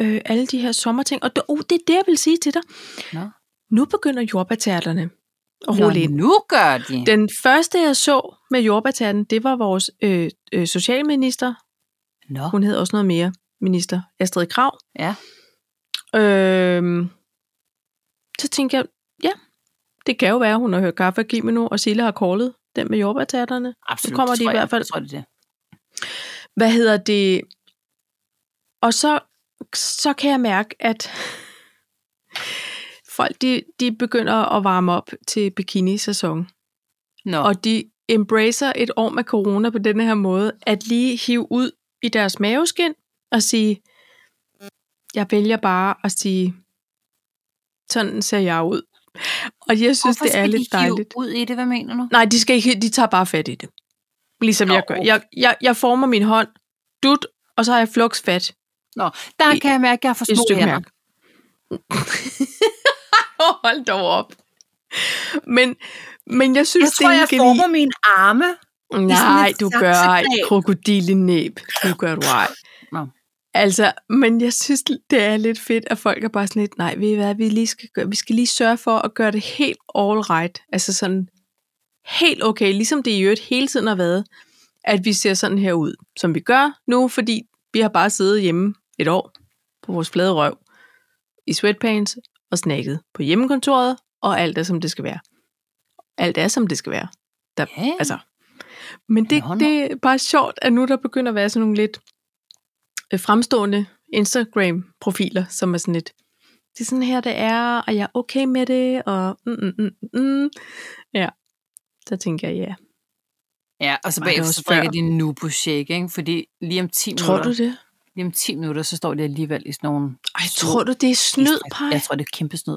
B: øh, alle de her sommerting. Og det, oh, det er det, jeg vil sige til dig.
A: Nå.
B: Nu begynder jordbærtærterne at rulle ind.
A: Nå, nu gør de. Den.
B: Den første, jeg så med jordbærtærten, det var vores øh, øh, socialminister.
A: Nå,
B: Hun hed også noget mere, minister Astrid Krav.
A: ja.
B: Øhm, så tænkte jeg, ja, det kan jo være, hun har hørt kaffe og Gimeno, og Silla har callet den med jordbærtærterne.
A: Absolut,
B: kommer
A: det
B: de i
A: tror jeg.
B: hvert fald.
A: Jeg tror, det er det.
B: Hvad hedder det? Og så, så kan jeg mærke, at folk de, de begynder at varme op til bikini-sæson.
A: Nå,
B: Og de embracer et år med corona på denne her måde, at lige hive ud i deres maveskin og sige, jeg vælger bare at sige, sådan ser jeg ud. Og jeg synes,
A: Hvorfor
B: det er
A: skal
B: lidt
A: de hive
B: dejligt.
A: ud i det? Hvad mener du?
B: Nej, de, skal ikke, de tager bare fat i det. Ligesom
A: Nå,
B: jeg gør. Jeg, jeg, jeg former min hånd, dut, og så har jeg flux fat
A: Nå, der kan jeg mærke, at jeg har for
B: et
A: små
B: stykke
A: hænder.
B: mærke. Hold dog op. Men, men jeg synes,
A: Jeg tror,
B: det er
A: jeg
B: en geni-
A: former mine arme.
B: Nej,
A: et
B: du gør ej.
A: saksegreb.
B: Krokodillenæb. Du gør du ej.
A: Nå.
B: Altså, men jeg synes, det er lidt fedt, at folk er bare sådan lidt, nej, ved I hvad, vi, lige skal gøre, vi skal lige sørge for at gøre det helt all right. Altså sådan helt okay, ligesom det i øvrigt hele tiden har været, at vi ser sådan her ud, som vi gør nu, fordi vi har bare siddet hjemme et år på vores flade røv i sweatpants og snakket på hjemmekontoret, og alt er, som det skal være. Alt er, som det skal være.
A: Ja, altså,
B: Altså, men det,
A: Nå, nå.
B: det er bare sjovt, at nu der begynder at være sådan nogle lidt øh, fremstående Instagram-profiler, som er sådan lidt, det er sådan her, det er, og jeg er okay med det, og mm, mm, mm, mm. Ja, så tænker jeg, ja.
A: ja, og så
B: Var det
A: bagefter
B: også
A: så drikker
B: før?
A: de en nubo shake, ikke? Fordi lige om 10
B: Tror du
A: minutter,
B: det?
A: lige om 10 minutter, så står de alligevel i sådan nogle...
B: Ej, tror du, det er snyd, Paj?
A: Jeg tror, det er kæmpe snyd.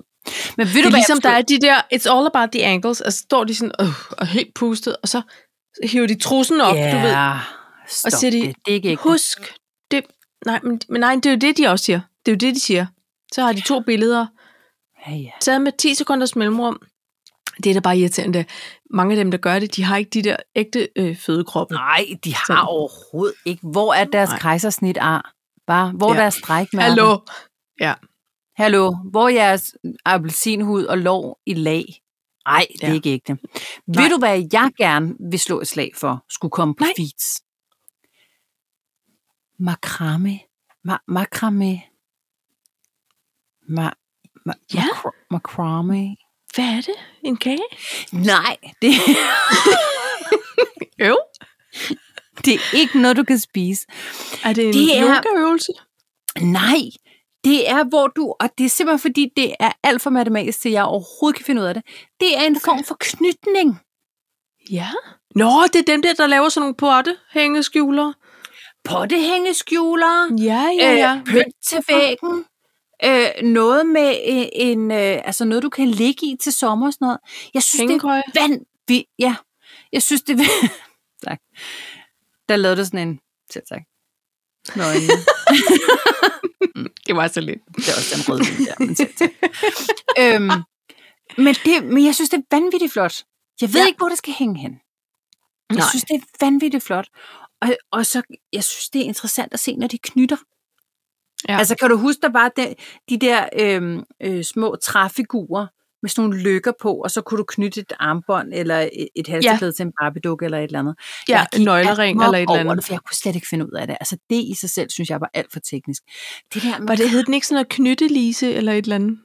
A: Men ved
B: Det
A: du,
B: er
A: hvad
B: ligesom,
A: jeg
B: der
A: forstod?
B: er de der, it's all about the ankles, og så står de sådan, øh, og helt pustet, og så hiver de trussen op,
A: ja,
B: du ved.
A: Stop
B: Og siger de,
A: det. det er ikke ægte.
B: Husk, det, nej, men, men nej, det er jo det, de også siger. Det er jo det, de siger. Så har de to billeder,
A: Ja, ja.
B: taget med 10 sekunders mellemrum. Det er da bare irriterende. at Mange af dem, der gør det, de har ikke de der ægte øh, fødekroppe.
A: Nej, de har
B: Sådan.
A: overhovedet ikke. Hvor er deres
B: Nej.
A: kejsersnit ar? Bare, hvor ja.
B: Ja.
A: er deres strækmærker?
B: Hallo.
A: Hallo, hvor er jeres appelsinhud og lår i lag? Nej, det er
B: Ja.
A: ikke ægte.
B: Nej.
A: Ved du, hvad jeg gerne vil slå et slag for, skulle komme på
B: Nej.
A: feeds? Makrame. Ma- makrame. Ma- ma-
B: Ja.
A: makra- makrame.
B: Hvad er det? En kage?
A: Nej, det,
B: Øv.
A: det er ikke noget, du kan spise.
B: Er det en
A: Det er-
B: yogaøvelse?
A: Nej, det er, hvor du, og det er simpelthen fordi, det er alt for matematisk, til jeg overhovedet kan finde ud af det. Det er en okay. form for knytning.
B: Ja. Nå, det er dem der, der laver sådan nogle potte, hængeskjuler.
A: Pottehængeskjuler,
B: Ja,
A: øh, pynt til væggen, øh, noget med øh, en, øh, altså noget, du kan ligge i til sommer og sådan noget. Jeg synes, det
B: Hængekøje.
A: er vanvittigt. Ja, jeg synes, det er Tak. Der lavede du sådan en... Selv tak. Nå,
B: Det var så lidt.
A: Det er også den røde vin der, men selv tak. øhm, men, det, men jeg synes, det er vanvittigt flot. Jeg ved ja.
B: Ja.
A: ikke, hvor det skal hænge hen. Jeg
B: Nej.
A: synes, det er vanvittigt flot. Og, og så, jeg synes, det er interessant at se, når de knytter. Ja.
B: Ja.
A: Altså, kan du huske, der var de, de der øhm, øh, små træfigurer, med sådan nogle lykker på, og så kunne du knytte et armbånd eller et, et halseklæde ja. til en barbiedukke eller et eller andet.
B: Ja,
A: Jeg gik
B: en nøglering
A: amok
B: eller et eller
A: over
B: andet.
A: Det, for jeg kunne slet ikke finde ud af det. Altså det i sig selv, synes jeg var alt for teknisk. Det der med,
B: Var det, hed den ikke sådan noget knyttelise eller et eller andet?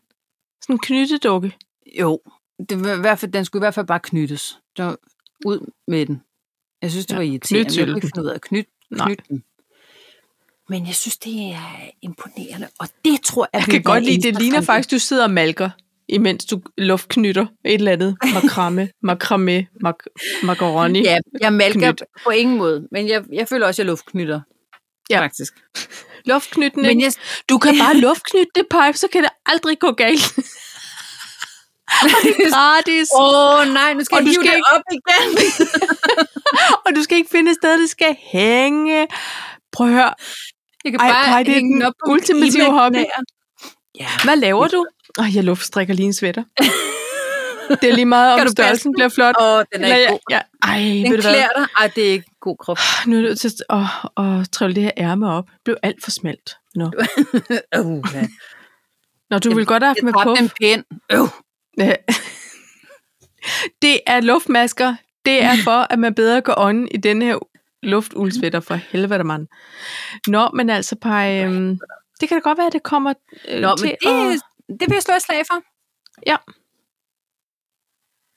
B: Sådan en knyttedukke.
A: Jo, det var i hvert fald, den skulle i hvert fald bare knyttes. Det var ud med den. Jeg synes, det
B: Ja,
A: var irriterende. Knyt jeg
B: knyt til
A: kunne
B: den.
A: ikke finde ud af at knyt,
B: Nej.
A: knyt den. Men jeg synes, det er imponerende, og det tror jeg,
B: Jeg
A: vil
B: kan
A: være
B: godt lide, det
A: Instas
B: ligner
A: fremtid.
B: faktisk, du sidder og malker, imens du luftknytter et eller andet. Makrame, makrame, mak macaroni.
A: Ja, jeg malker
B: Knyt.
A: på ingen måde, men jeg, jeg føler også, at jeg luftknytter.
B: Ja.
A: faktisk.
B: Luftknytning.
A: Men jeg,
B: Du kan bare luftknytte det, Pipe, så kan det aldrig gå galt. Og det er gratis,
A: Åh oh, nej, nu skal
B: Og
A: jeg
B: du
A: hive
B: skal
A: det
B: ikke-
A: op igen.
B: og du skal ikke finde et sted, det skal hænge. Prøv at høre,
A: Jeg kan
B: Ej,
A: bare
B: nej, det er
A: hænge
B: den
A: op på mit
B: ultimative
A: e-mail
B: hobby.
A: der. Ja.
B: hvad laver du? Åh, jeg luftstrikker lige en sweater. Det er lige meget,
A: Kan
B: om
A: du passe
B: størrelsen
A: den?
B: bliver flot.
A: Åh, oh, den er
B: Eller
A: ikke
B: jeg,
A: god.
B: jeg, ej, ved
A: Den
B: du hvad?
A: klæder dig. Ej, det er ikke god krop.
B: Nu er jeg nødt til at, åh, at trælle det her ærme op. Det blev alt for smalt. Nå,
A: Uh,
B: Nå du
A: Jeg-
B: ville godt have haft
A: jeg
B: med
A: dræbte
B: puff.
A: en pind. Øh.
B: Ja. det er luftmasker. Det er for, at man bedre går ånden i denne her luftuldsvætter for helvede, mand. Nå, men altså, Paj, øhm, det kan da godt være, at det kommer øh,
A: Nå, men
B: til
A: det,
B: at...
A: det vil jeg slå et slag for.
B: Jeg,
A: Og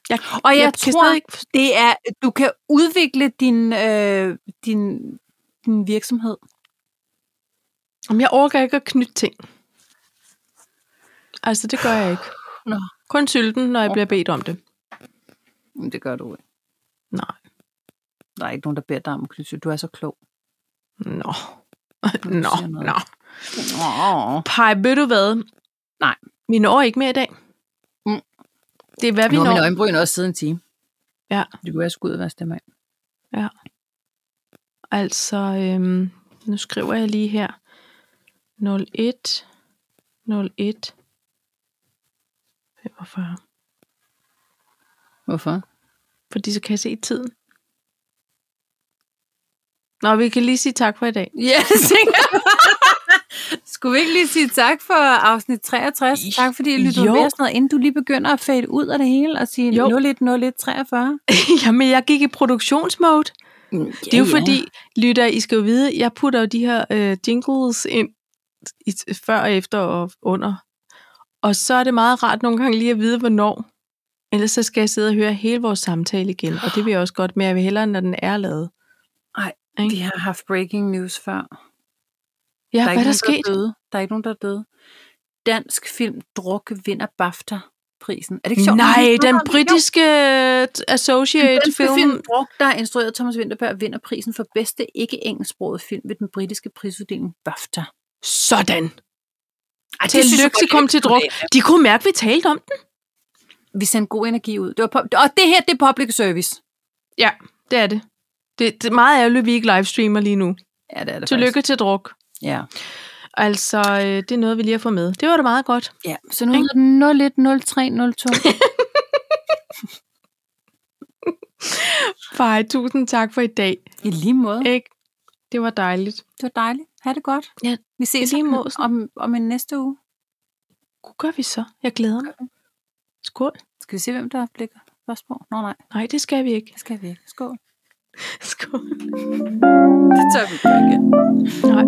A: jeg,
B: jeg
A: jeg
B: kan
A: tror,
B: stadig
A: ikke...
B: ikke
A: det er, du kan udvikle din, øh, din, din virksomhed.
B: Om jeg overgår ikke at knytte ting. Altså, det gør jeg ikke.
A: Nå.
B: Kun sylten, når jeg bliver bedt om det.
A: Det gør du ikke.
B: Nej.
A: Der er ikke nogen, der beder dig om at knytte. Du er så klog.
B: Nå.
A: du
B: Nå,
A: siger noget.
B: nå.
A: Oh.
B: Pej, ved du hvad?
A: Nej.
B: Vi når ikke mere i dag.
A: Mm.
B: Det er, hvad vi
A: Nu har
B: når.
A: mine øjenbryn også siden en time.
B: Ja.
A: Det kunne være skudt at være stemme af.
B: Altså, øhm, nu skriver jeg lige her. 01, 01, 45.
A: Hvorfor?
B: Fordi så kan jeg se tiden. Nå, vi kan lige sige tak for i dag.
A: Ja, det tænker jeg. Skulle vi ikke lige sige tak for afsnit 63? Tak fordi I lyttede
B: Jo.
A: med og sådan noget, inden du lige begynder at fade ud af det hele og sige
B: Jo.
A: 01, 01, 43.
B: Jamen, jeg gik i produktionsmode.
A: Ja,
B: Det er jo fordi, lytter, I skal jo vide, jeg putter jo de her øh, jingles ind i, før, og efter og under. Og så er det meget rart nogle gange lige at vide, hvornår. Ellers så skal jeg sidde og høre hele vores samtale igen, og det vil jeg også godt, men jeg vil hellere, når den er lavet.
A: Vi har haft breaking news før. der
B: Ja,
A: er
B: hvad er
A: ikke
B: der
A: nogen,
B: sket?
A: der er døde. Der er ikke nogen, der er døde. Dansk film Druk vinder BAFTA-prisen. Er det ikke sjovt?
B: Nej,
A: Vi snakker
B: den
A: om det.
B: britiske øh,
A: Jo,
B: Associate
A: den film.
B: Film.
A: film Druk, der er instrueret af Thomas Vinterberg, vinder prisen for bedste ikke engelsksproget film ved den britiske prisuddeling BAFTA.
B: Sådan.
A: Ej,
B: Til lykke kom til druk. De kunne mærke, at vi talte om den.
A: Vi sendte god energi ud. Det var pub- og det her, det er public service.
B: Ja, det er det. Det, det er meget ærgerligt, at vi ikke livestreamer lige nu.
A: Ja, det er det
B: Tillykke til druk.
A: faktisk. Ja.
B: Altså, øh, det er noget, vi lige har fået med. Det var da meget godt.
A: ja, så nu hedder den 010302.
B: Fej, tusind tak for i dag.
A: I lige måde.
B: Ikke? Det var dejligt.
A: Det var dejligt. Ha' det godt.
B: Ja,
A: Vi ses
B: i lige
A: om-
B: måde.
A: om, om en næste uge.
B: Hvad gør vi så? Jeg glæder mig. Skål.
A: Skal vi se, hvem der blikker først på? Nå nej,
B: Nej, det skal vi ikke.
A: det skal vi ikke. Skål.
B: Skål.
A: Det tør vi ikke.
B: Nej.